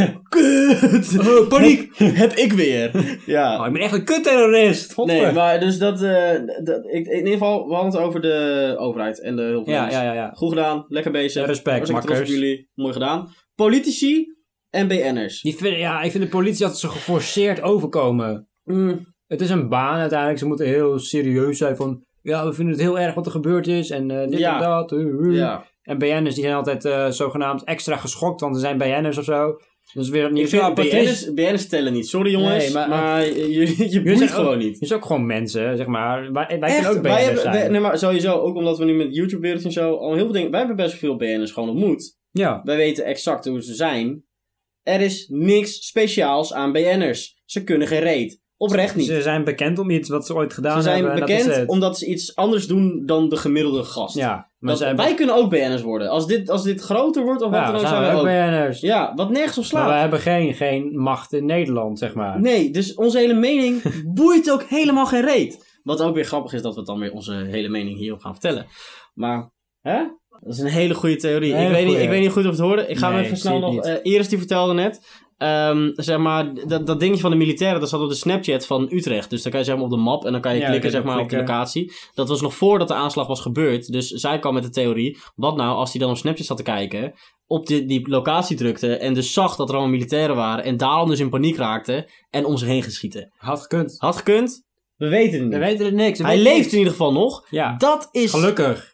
[SPEAKER 2] Kut! paniek! Heb ik weer. Ja.
[SPEAKER 3] oh, ik ben echt een kutterrorist.
[SPEAKER 2] Nee,
[SPEAKER 3] Godver.
[SPEAKER 2] maar dus dat, eh, dat ik, in ieder geval, we hadden het over de overheid en de
[SPEAKER 3] Ja,
[SPEAKER 2] hulpverleners.
[SPEAKER 3] ja, ja, ja.
[SPEAKER 2] Goed gedaan, lekker bezig.
[SPEAKER 3] Ja, respect,
[SPEAKER 2] Hartstikke trots op
[SPEAKER 3] makkers.
[SPEAKER 2] jullie, mooi gedaan. Politici en BN'ers.
[SPEAKER 3] Die vinden- ja, ik vind de politie dat ze geforceerd overkomen.
[SPEAKER 2] Mm,
[SPEAKER 3] Het is een baan uiteindelijk. Ze moeten heel serieus zijn van... Ja, we vinden het heel erg wat er gebeurd is. En eh, dit
[SPEAKER 2] Ja.
[SPEAKER 3] en dat. uh, uh.
[SPEAKER 2] ja.
[SPEAKER 3] En BN'ers die zijn altijd eh, zogenaamd extra geschokt. Want er zijn BN'ers of zo. Dus weer opnieuw...
[SPEAKER 2] Ik vind
[SPEAKER 3] ja, Patrice-
[SPEAKER 2] BN'ers, BN'ers tellen niet, sorry jongens,
[SPEAKER 3] Nee,
[SPEAKER 2] maar,
[SPEAKER 3] maar-
[SPEAKER 2] je, je, je
[SPEAKER 3] Jullie
[SPEAKER 2] boeit
[SPEAKER 3] zijn ook-
[SPEAKER 2] gewoon niet.
[SPEAKER 3] Het is ook gewoon mensen, zeg maar. Wij, wij
[SPEAKER 2] Echt,
[SPEAKER 3] kunnen ook BN'ers
[SPEAKER 2] wij hebben,
[SPEAKER 3] zijn.
[SPEAKER 2] wij- nee, maar sowieso, ook omdat we nu met YouTube wereld en zo al heel veel dingen, wij hebben best veel BN'ers gewoon ontmoet.
[SPEAKER 3] Ja.
[SPEAKER 2] Wij weten exact hoe ze zijn. Er is niks speciaals aan BN'ers. Ze kunnen geen reet. Oprecht niet.
[SPEAKER 3] Ze zijn bekend om iets wat ze ooit gedaan
[SPEAKER 2] Ze zijn
[SPEAKER 3] hebben. en dat is
[SPEAKER 2] bekend
[SPEAKER 3] het.
[SPEAKER 2] omdat ze iets anders doen dan de gemiddelde gast.
[SPEAKER 3] Ja, maar
[SPEAKER 2] Dat-
[SPEAKER 3] ze zijn
[SPEAKER 2] wij kunnen ook BN'ers worden. Als dit, als dit groter wordt of
[SPEAKER 3] ja,
[SPEAKER 2] wat dan ook,
[SPEAKER 3] zijn
[SPEAKER 2] zijn
[SPEAKER 3] we
[SPEAKER 2] wij ook.
[SPEAKER 3] ook BN'ers.
[SPEAKER 2] Ja, wat nergens op
[SPEAKER 3] Maar
[SPEAKER 2] slaat.
[SPEAKER 3] wij hebben geen, geen macht in Nederland, zeg maar.
[SPEAKER 2] Nee, dus onze hele mening boeit ook helemaal geen reet. Wat ook weer grappig is dat we dan weer onze hele mening hierop gaan vertellen. Maar, hè? Dat is een hele goede theorie.
[SPEAKER 3] Een hele
[SPEAKER 2] ik, weet niet,
[SPEAKER 3] goeie.
[SPEAKER 2] ik weet niet goed of het hoorde. Ik ga
[SPEAKER 3] Nee,
[SPEAKER 2] hem
[SPEAKER 3] ik
[SPEAKER 2] even
[SPEAKER 3] zie
[SPEAKER 2] snel
[SPEAKER 3] het
[SPEAKER 2] nog...
[SPEAKER 3] niet.
[SPEAKER 2] eh, Iris die vertelde net... ehm, zeg maar, dat, dat dingetje van de militairen, dat zat op de Snapchat van Utrecht. Dus dan kan je zeg maar, op de map en dan kan je
[SPEAKER 3] Ja,
[SPEAKER 2] klikken
[SPEAKER 3] kun je
[SPEAKER 2] zeg maar, op de
[SPEAKER 3] klikken.
[SPEAKER 2] locatie. Dat was nog voordat de aanslag was gebeurd. Dus zij kwam met de theorie, wat nou als hij dan op Snapchat zat te kijken, op die, die locatie drukte en dus zag dat er allemaal militairen waren en daarom dus in paniek raakte en om zich heen geschieten.
[SPEAKER 3] Had gekund.
[SPEAKER 2] Had gekund? We weten het
[SPEAKER 3] We weten het niks. we
[SPEAKER 2] Hij
[SPEAKER 3] weten
[SPEAKER 2] leeft
[SPEAKER 3] niks.
[SPEAKER 2] in ieder geval nog.
[SPEAKER 3] Ja,
[SPEAKER 2] Dat is...
[SPEAKER 3] gelukkig.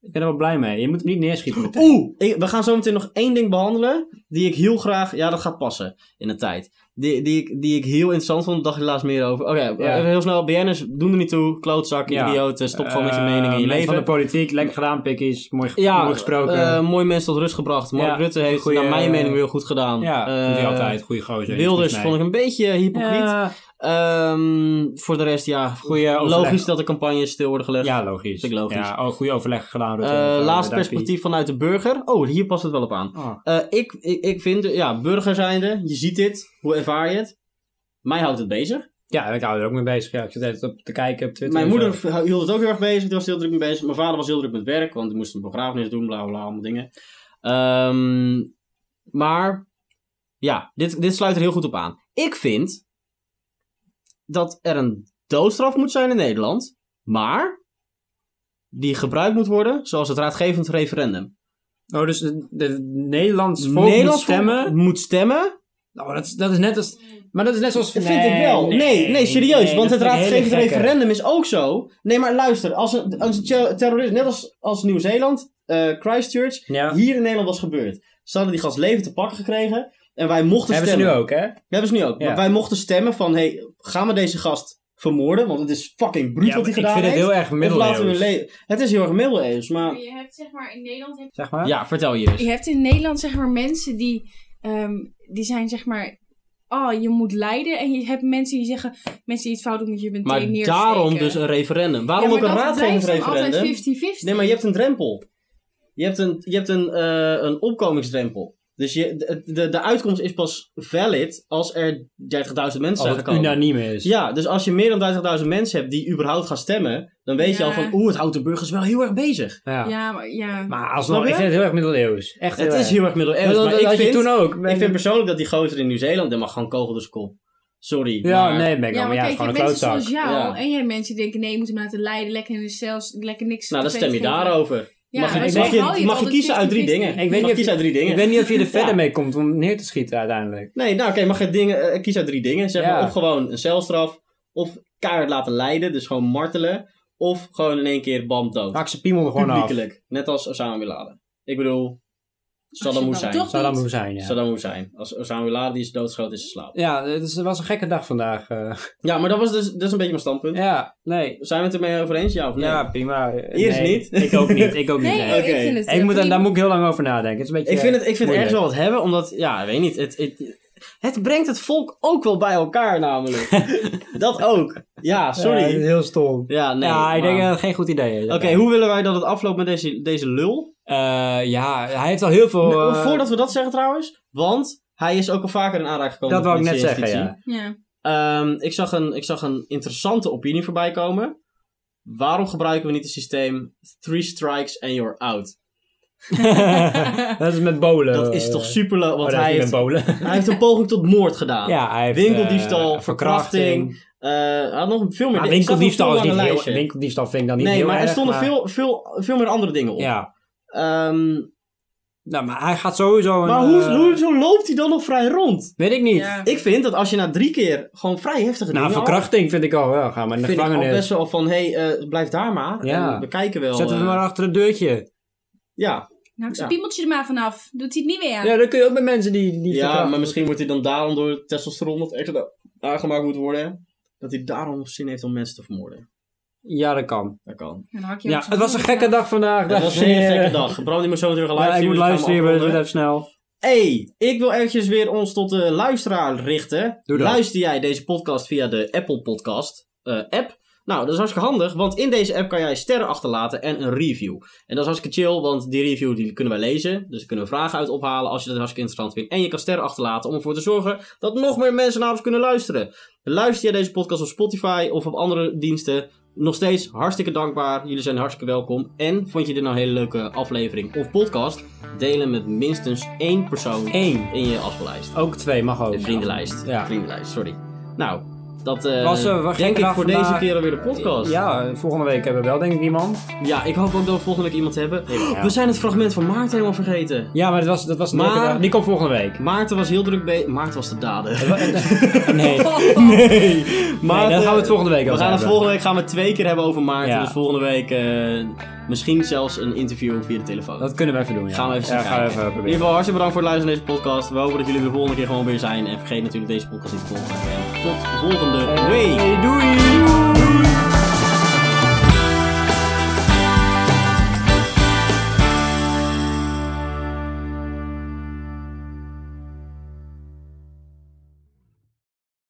[SPEAKER 3] Ik ben er wel blij mee. Je moet hem niet neerschieten. meteen.
[SPEAKER 2] Oeh, ik- we gaan zo meteen nog één ding behandelen. Die ik heel graag. Ja, dat gaat passen in de tijd. Die, die, ik, die ik heel interessant vond. Dacht ik laatst meer over. Oké,
[SPEAKER 3] Ja.
[SPEAKER 2] even heel snel. BN'ers doen er niet toe. Klootzak,
[SPEAKER 3] Ja.
[SPEAKER 2] idioten. Stop gewoon met je
[SPEAKER 3] Eh,
[SPEAKER 2] mening in je
[SPEAKER 3] mensen
[SPEAKER 2] leven.
[SPEAKER 3] van de politiek, lekker gedaan, pikkies. Mooi, ge-
[SPEAKER 2] Ja,
[SPEAKER 3] mooi gesproken.
[SPEAKER 2] eh, mooi mensen tot rust gebracht. Mark
[SPEAKER 3] Ja,
[SPEAKER 2] Rutte heeft
[SPEAKER 3] goeie-
[SPEAKER 2] naar mijn mening weer goed gedaan.
[SPEAKER 3] ja,
[SPEAKER 2] Eh,
[SPEAKER 3] vind ik altijd. Goeie gozer.
[SPEAKER 2] Wilders vond ik een beetje hypocriet.
[SPEAKER 3] Ja,
[SPEAKER 2] Ehm, voor de rest, ja.
[SPEAKER 3] goeie overleg.
[SPEAKER 2] Logisch dat de campagnes stil worden gelegd.
[SPEAKER 3] Ja, logisch.
[SPEAKER 2] Vind ik logisch.
[SPEAKER 3] Ja, oh, goede overleg gedaan. Rutte.
[SPEAKER 2] Eh,
[SPEAKER 3] Mevrouw
[SPEAKER 2] laatste
[SPEAKER 3] Dappie.
[SPEAKER 2] perspectief vanuit de burger. Oh, hier past het wel op aan.
[SPEAKER 3] Oh,
[SPEAKER 2] Eh, ik, ik, ik vind, ja, burger zijnde, je ziet dit, hoe ervaar je het? Mij houdt het bezig.
[SPEAKER 3] Ja, ik hou er ook mee bezig. Ja, ik zit altijd op te kijken op Twitter.
[SPEAKER 2] Mijn
[SPEAKER 3] en zo.
[SPEAKER 2] moeder v- hield het ook heel erg bezig, die was heel druk mee bezig. Mijn vader was heel druk met werk, want die moest een begrafenis doen, bla bla, bla, allemaal dingen. Ehm, maar, ja, dit, dit sluit er heel goed op aan. Ik vind dat er een doodstraf moet zijn in Nederland, maar die gebruikt moet worden zoals het raadgevend referendum.
[SPEAKER 3] Oh, dus de, de Nederlands volk
[SPEAKER 2] Nederland
[SPEAKER 3] moet Dus stemmen.
[SPEAKER 2] moet stemmen.
[SPEAKER 3] Oh, dat, is, dat is net als... Maar dat is net zoals...
[SPEAKER 2] Dat vind ik wel. Nee, nee, serieus. want het raadgevend referendum is ook zo. Nee, maar luister. Als een, als een ter- terrorist, net als, als Nieuw-Zeeland, eh, Christchurch,
[SPEAKER 3] Ja.
[SPEAKER 2] hier in Nederland was gebeurd. Ze hadden die gast leven te pakken gekregen. En wij mochten
[SPEAKER 3] Hebben ze
[SPEAKER 2] stemmen.
[SPEAKER 3] nu ook, hè?
[SPEAKER 2] Hebben ze nu ook.
[SPEAKER 3] Ja.
[SPEAKER 2] Maar wij mochten stemmen van, hé, hey, gaan we deze gast vermoorden? Want het is fucking bruut wat hij
[SPEAKER 3] ik
[SPEAKER 2] gedaan
[SPEAKER 3] vind het
[SPEAKER 2] heeft.
[SPEAKER 3] heel erg
[SPEAKER 2] Of laten we hem
[SPEAKER 3] middeleeuws.
[SPEAKER 2] leven. Het is heel erg middeleeuws,
[SPEAKER 4] Maar
[SPEAKER 2] maar...
[SPEAKER 4] je hebt zeg maar in Nederland heb-
[SPEAKER 3] Zeg maar.
[SPEAKER 2] Ja, vertel je
[SPEAKER 4] je hebt in Nederland zeg maar mensen die ehm, die zijn zeg maar oh je moet lijden en je hebt mensen die zeggen mensen die iets fout doen moet je meteen
[SPEAKER 2] Maar
[SPEAKER 4] neersteken.
[SPEAKER 2] daarom dus een referendum. Waarom
[SPEAKER 4] Ja,
[SPEAKER 2] ook
[SPEAKER 4] maar
[SPEAKER 2] een
[SPEAKER 4] dat
[SPEAKER 2] raadgevend
[SPEAKER 4] blijft dan
[SPEAKER 2] referendum?
[SPEAKER 4] altijd 50-50.
[SPEAKER 2] Nee, maar je hebt een drempel. Je hebt een, je hebt een, eh, een opkomingsdrempel. Dus je, de, de, de uitkomst is pas valid als er 30.000 mensen
[SPEAKER 3] Als
[SPEAKER 2] zijn
[SPEAKER 3] het
[SPEAKER 2] gekomen.
[SPEAKER 3] unaniem is.
[SPEAKER 2] Ja, dus als je meer dan 30.000 mensen hebt die überhaupt gaan stemmen, dan weet je
[SPEAKER 4] Ja.
[SPEAKER 2] al van, oeh, het houdt de burgers wel heel erg bezig.
[SPEAKER 3] Ja.
[SPEAKER 4] ja, maar, ja.
[SPEAKER 3] Maar alsnog,
[SPEAKER 2] Snap je?
[SPEAKER 3] ik vind het heel erg middeleeuws. Echt
[SPEAKER 2] het is heel erg
[SPEAKER 3] Maar
[SPEAKER 2] middeleeuws,
[SPEAKER 3] dat
[SPEAKER 2] maar
[SPEAKER 3] dat
[SPEAKER 2] ik
[SPEAKER 3] had je
[SPEAKER 2] vind,
[SPEAKER 3] toen ook.
[SPEAKER 2] ik vind persoonlijk dat die gozer in Nieuw-Zeeland, die mag gewoon kogel door zijn kop. Sorry.
[SPEAKER 3] Ja,
[SPEAKER 2] maar- nou,
[SPEAKER 3] nee, ben ik wel.
[SPEAKER 4] Ja,
[SPEAKER 3] Maar
[SPEAKER 4] maar
[SPEAKER 3] ja, het is
[SPEAKER 4] kijk,
[SPEAKER 3] gewoon
[SPEAKER 4] je hebt
[SPEAKER 3] een
[SPEAKER 4] mensen
[SPEAKER 3] klootzak.
[SPEAKER 4] zoals
[SPEAKER 2] Ja.
[SPEAKER 4] jou. En jij hebt mensen die denken, nee, je moet hem laten leiden. Lekker in de cells, lekker niks
[SPEAKER 2] Nou, dan
[SPEAKER 4] te
[SPEAKER 2] stem je
[SPEAKER 4] feest geven.
[SPEAKER 2] daarover.
[SPEAKER 4] Ja,
[SPEAKER 2] mag je,
[SPEAKER 4] maar zo
[SPEAKER 2] mag je,
[SPEAKER 4] hou het
[SPEAKER 2] mag je
[SPEAKER 4] altijd
[SPEAKER 2] kiezen uit drie
[SPEAKER 4] 50-50.
[SPEAKER 2] dingen?
[SPEAKER 3] Ik weet
[SPEAKER 2] mag
[SPEAKER 3] niet of
[SPEAKER 2] kiezen
[SPEAKER 3] je-
[SPEAKER 2] uit drie dingen.
[SPEAKER 3] Ik weet niet of je er verder
[SPEAKER 2] Ja.
[SPEAKER 3] mee komt om neer te schieten uiteindelijk.
[SPEAKER 2] Nee, nou oké, mag je dingen, eh, kies uit drie dingen. Zeg maar,
[SPEAKER 3] Ja.
[SPEAKER 2] of gewoon een celstraf, of keihard laten leiden, dus gewoon martelen, of gewoon in één keer bam dood.
[SPEAKER 3] Maak ze piemel er gewoon af.
[SPEAKER 2] Publiekelijk. Net als Osama Bin Laden. Ik bedoel, Saddam
[SPEAKER 4] Als je
[SPEAKER 2] Hussein.
[SPEAKER 4] dan toch-
[SPEAKER 3] Saddam
[SPEAKER 4] Niet.
[SPEAKER 3] Hussein, ja.
[SPEAKER 2] Saddam Hussein. Als Osama Bin Laden die is doodgeschoten, is ze slaap.
[SPEAKER 3] Ja, het is- het was een gekke dag vandaag. eh.
[SPEAKER 2] Ja, maar dat was dus dat is een beetje mijn standpunt.
[SPEAKER 3] Ja, nee.
[SPEAKER 2] Zijn we het ermee over eens? Ja of nee?
[SPEAKER 3] Ja, prima.
[SPEAKER 2] Hier is
[SPEAKER 3] Nee,
[SPEAKER 2] niet.
[SPEAKER 3] Ik ook niet. Ik ook niet.
[SPEAKER 4] Nee,
[SPEAKER 3] nee.
[SPEAKER 2] Oké.
[SPEAKER 4] ik vind het...
[SPEAKER 3] Ik moet, daar-
[SPEAKER 4] prima.
[SPEAKER 3] daar moet ik heel lang over nadenken. Het is een beetje,
[SPEAKER 2] Ik vind het, ik vind het
[SPEAKER 3] moeilijk.
[SPEAKER 2] ergens wel wat hebben, omdat, ja, ik weet niet, het, het, het brengt het volk ook wel bij elkaar namelijk. dat ook. Ja,
[SPEAKER 3] Ja, het
[SPEAKER 2] sorry.
[SPEAKER 3] is heel stom.
[SPEAKER 2] Ja, nee.
[SPEAKER 3] ja, ik denk
[SPEAKER 2] maar-
[SPEAKER 3] dat het geen goed idee is.
[SPEAKER 2] Oké, hoe willen wij dat het afloopt met deze, deze lul?
[SPEAKER 3] Eh, ja, hij heeft al heel veel... eh,
[SPEAKER 2] Voordat we dat zeggen trouwens, want hij is ook al vaker in aanraking gekomen
[SPEAKER 3] dat wou ik
[SPEAKER 2] met
[SPEAKER 3] net
[SPEAKER 2] deze
[SPEAKER 3] zeggen,
[SPEAKER 2] justitie.
[SPEAKER 3] ja.
[SPEAKER 4] Ja.
[SPEAKER 2] Ehm, ik, zag een, ik zag een interessante opinie voorbij komen. Waarom gebruiken we niet het systeem three strikes and you're out?
[SPEAKER 3] dat is met bolen. Oh,
[SPEAKER 2] Dat is
[SPEAKER 3] Eh,
[SPEAKER 2] toch super leuk, want hij, heeft,
[SPEAKER 3] met bolen.
[SPEAKER 2] hij heeft een poging tot moord gedaan.
[SPEAKER 3] ja, hij heeft...
[SPEAKER 2] winkeldiefstal,
[SPEAKER 3] eh,
[SPEAKER 2] verkrachting. Eh, hij had nog veel meer.
[SPEAKER 3] Maar
[SPEAKER 2] Ik zag nog
[SPEAKER 3] winkeldiefstal
[SPEAKER 2] veel
[SPEAKER 3] is niet
[SPEAKER 2] langer
[SPEAKER 3] heel...
[SPEAKER 2] lijstje.
[SPEAKER 3] Winkeldiefstal vind ik dan niet
[SPEAKER 2] nee,
[SPEAKER 3] heel
[SPEAKER 2] maar er
[SPEAKER 3] erg,
[SPEAKER 2] stonden
[SPEAKER 3] maar-
[SPEAKER 2] Veel, veel, veel meer andere dingen op.
[SPEAKER 3] Ja.
[SPEAKER 2] Ehm,
[SPEAKER 3] Nou, maar hij gaat sowieso een...
[SPEAKER 2] maar hoe,
[SPEAKER 3] eh,
[SPEAKER 2] hoe, zo loopt hij dan nog vrij rond?
[SPEAKER 3] Weet ik niet.
[SPEAKER 4] Ja.
[SPEAKER 2] Ik vind dat als je na drie keer gewoon vrij heftige dingen
[SPEAKER 3] Nou, verkrachting vind ik al wel. Ga maar in de
[SPEAKER 2] vind ik al
[SPEAKER 3] gevangenis.
[SPEAKER 2] best wel van, hé, hey, eh, blijf daar maar.
[SPEAKER 3] Ja.
[SPEAKER 2] En we kijken wel.
[SPEAKER 3] Zetten we
[SPEAKER 2] eh,
[SPEAKER 3] hem maar achter het deurtje.
[SPEAKER 2] Ja,
[SPEAKER 4] Nou, ik
[SPEAKER 2] Ja.
[SPEAKER 4] spiemeltje er maar vanaf. Doet hij het niet meer.
[SPEAKER 3] Ja, dat kun je ook met mensen die, die
[SPEAKER 2] ja
[SPEAKER 3] verkrachten.
[SPEAKER 2] maar misschien wordt hij dan daarom door het testosteron dat extra aangemaakt moet worden. Dat hij daarom zin heeft om mensen te vermoorden.
[SPEAKER 3] Ja, dat kan.
[SPEAKER 2] Dat kan.
[SPEAKER 4] Dan hak je hem
[SPEAKER 3] Ja,
[SPEAKER 4] zo
[SPEAKER 3] het was een
[SPEAKER 4] in.
[SPEAKER 3] gekke dag vandaag.
[SPEAKER 2] Dat was een
[SPEAKER 3] dames en
[SPEAKER 2] hele gekke
[SPEAKER 3] heren.
[SPEAKER 2] dag. Bram, die moet zo meteen gaan
[SPEAKER 3] Ja, ik
[SPEAKER 2] livestreamen.
[SPEAKER 3] moet
[SPEAKER 2] dus gaan we
[SPEAKER 3] livestreamen,
[SPEAKER 2] afronden.
[SPEAKER 3] dus doe het even snel.
[SPEAKER 2] Hey, ik wil eventjes weer ons tot de luisteraar richten.
[SPEAKER 3] Doe dat.
[SPEAKER 2] Luister jij deze podcast via de Apple Podcast eh, app? Nou, dat is hartstikke handig, want in deze app kan jij sterren achterlaten en een review. En dat is hartstikke chill, want die review die kunnen wij lezen. Dus daar kunnen we vragen uit ophalen als je dat hartstikke interessant vindt. En je kan sterren achterlaten om ervoor te zorgen dat nog meer mensen naar ons kunnen luisteren. Luister jij deze podcast op Spotify of op andere diensten? Nog steeds hartstikke dankbaar. Jullie zijn hartstikke welkom. En vond je dit nou een hele leuke aflevering of podcast? Delen met minstens één persoon
[SPEAKER 3] Eén.
[SPEAKER 2] in je afspeellijst.
[SPEAKER 3] Ook twee, mag ook.
[SPEAKER 2] De vriendenlijst.
[SPEAKER 3] Ja.
[SPEAKER 2] Vriendenlijst, sorry. Nou, dat eh,
[SPEAKER 3] Was, eh, wat
[SPEAKER 2] denk
[SPEAKER 3] gekke
[SPEAKER 2] ik
[SPEAKER 3] dag
[SPEAKER 2] voor
[SPEAKER 3] vandaag.
[SPEAKER 2] deze keer alweer de podcast.
[SPEAKER 3] Ja, volgende week hebben we wel denk ik iemand.
[SPEAKER 2] Ja, ik hoop ook dat we volgende week iemand hebben. We zijn het fragment van Maarten helemaal vergeten.
[SPEAKER 3] Ja, maar dat was, dat was een
[SPEAKER 2] Maar-
[SPEAKER 3] leuke dag. Die komt volgende week.
[SPEAKER 2] Maarten was heel druk bezig. Maarten was de dader.
[SPEAKER 3] Nee,
[SPEAKER 2] Nee,
[SPEAKER 3] nee, dan gaan we het volgende week
[SPEAKER 2] We
[SPEAKER 3] over
[SPEAKER 2] gaan het
[SPEAKER 3] hebben.
[SPEAKER 2] volgende week gaan we het twee keer hebben over Maarten.
[SPEAKER 3] Ja.
[SPEAKER 2] Dus volgende week eh, misschien zelfs een interview via de telefoon.
[SPEAKER 3] Dat kunnen we even doen, ja.
[SPEAKER 2] gaan we even,
[SPEAKER 3] ja,
[SPEAKER 2] zien
[SPEAKER 3] gaan we
[SPEAKER 2] kijken. In
[SPEAKER 3] even
[SPEAKER 2] ieder
[SPEAKER 3] proberen.
[SPEAKER 2] geval hartstikke bedankt voor het luisteren naar deze podcast. We hopen dat jullie de volgende keer gewoon weer zijn. En vergeet natuurlijk deze podcast niet te volgen. En tot volgende week.
[SPEAKER 3] Hey, doei!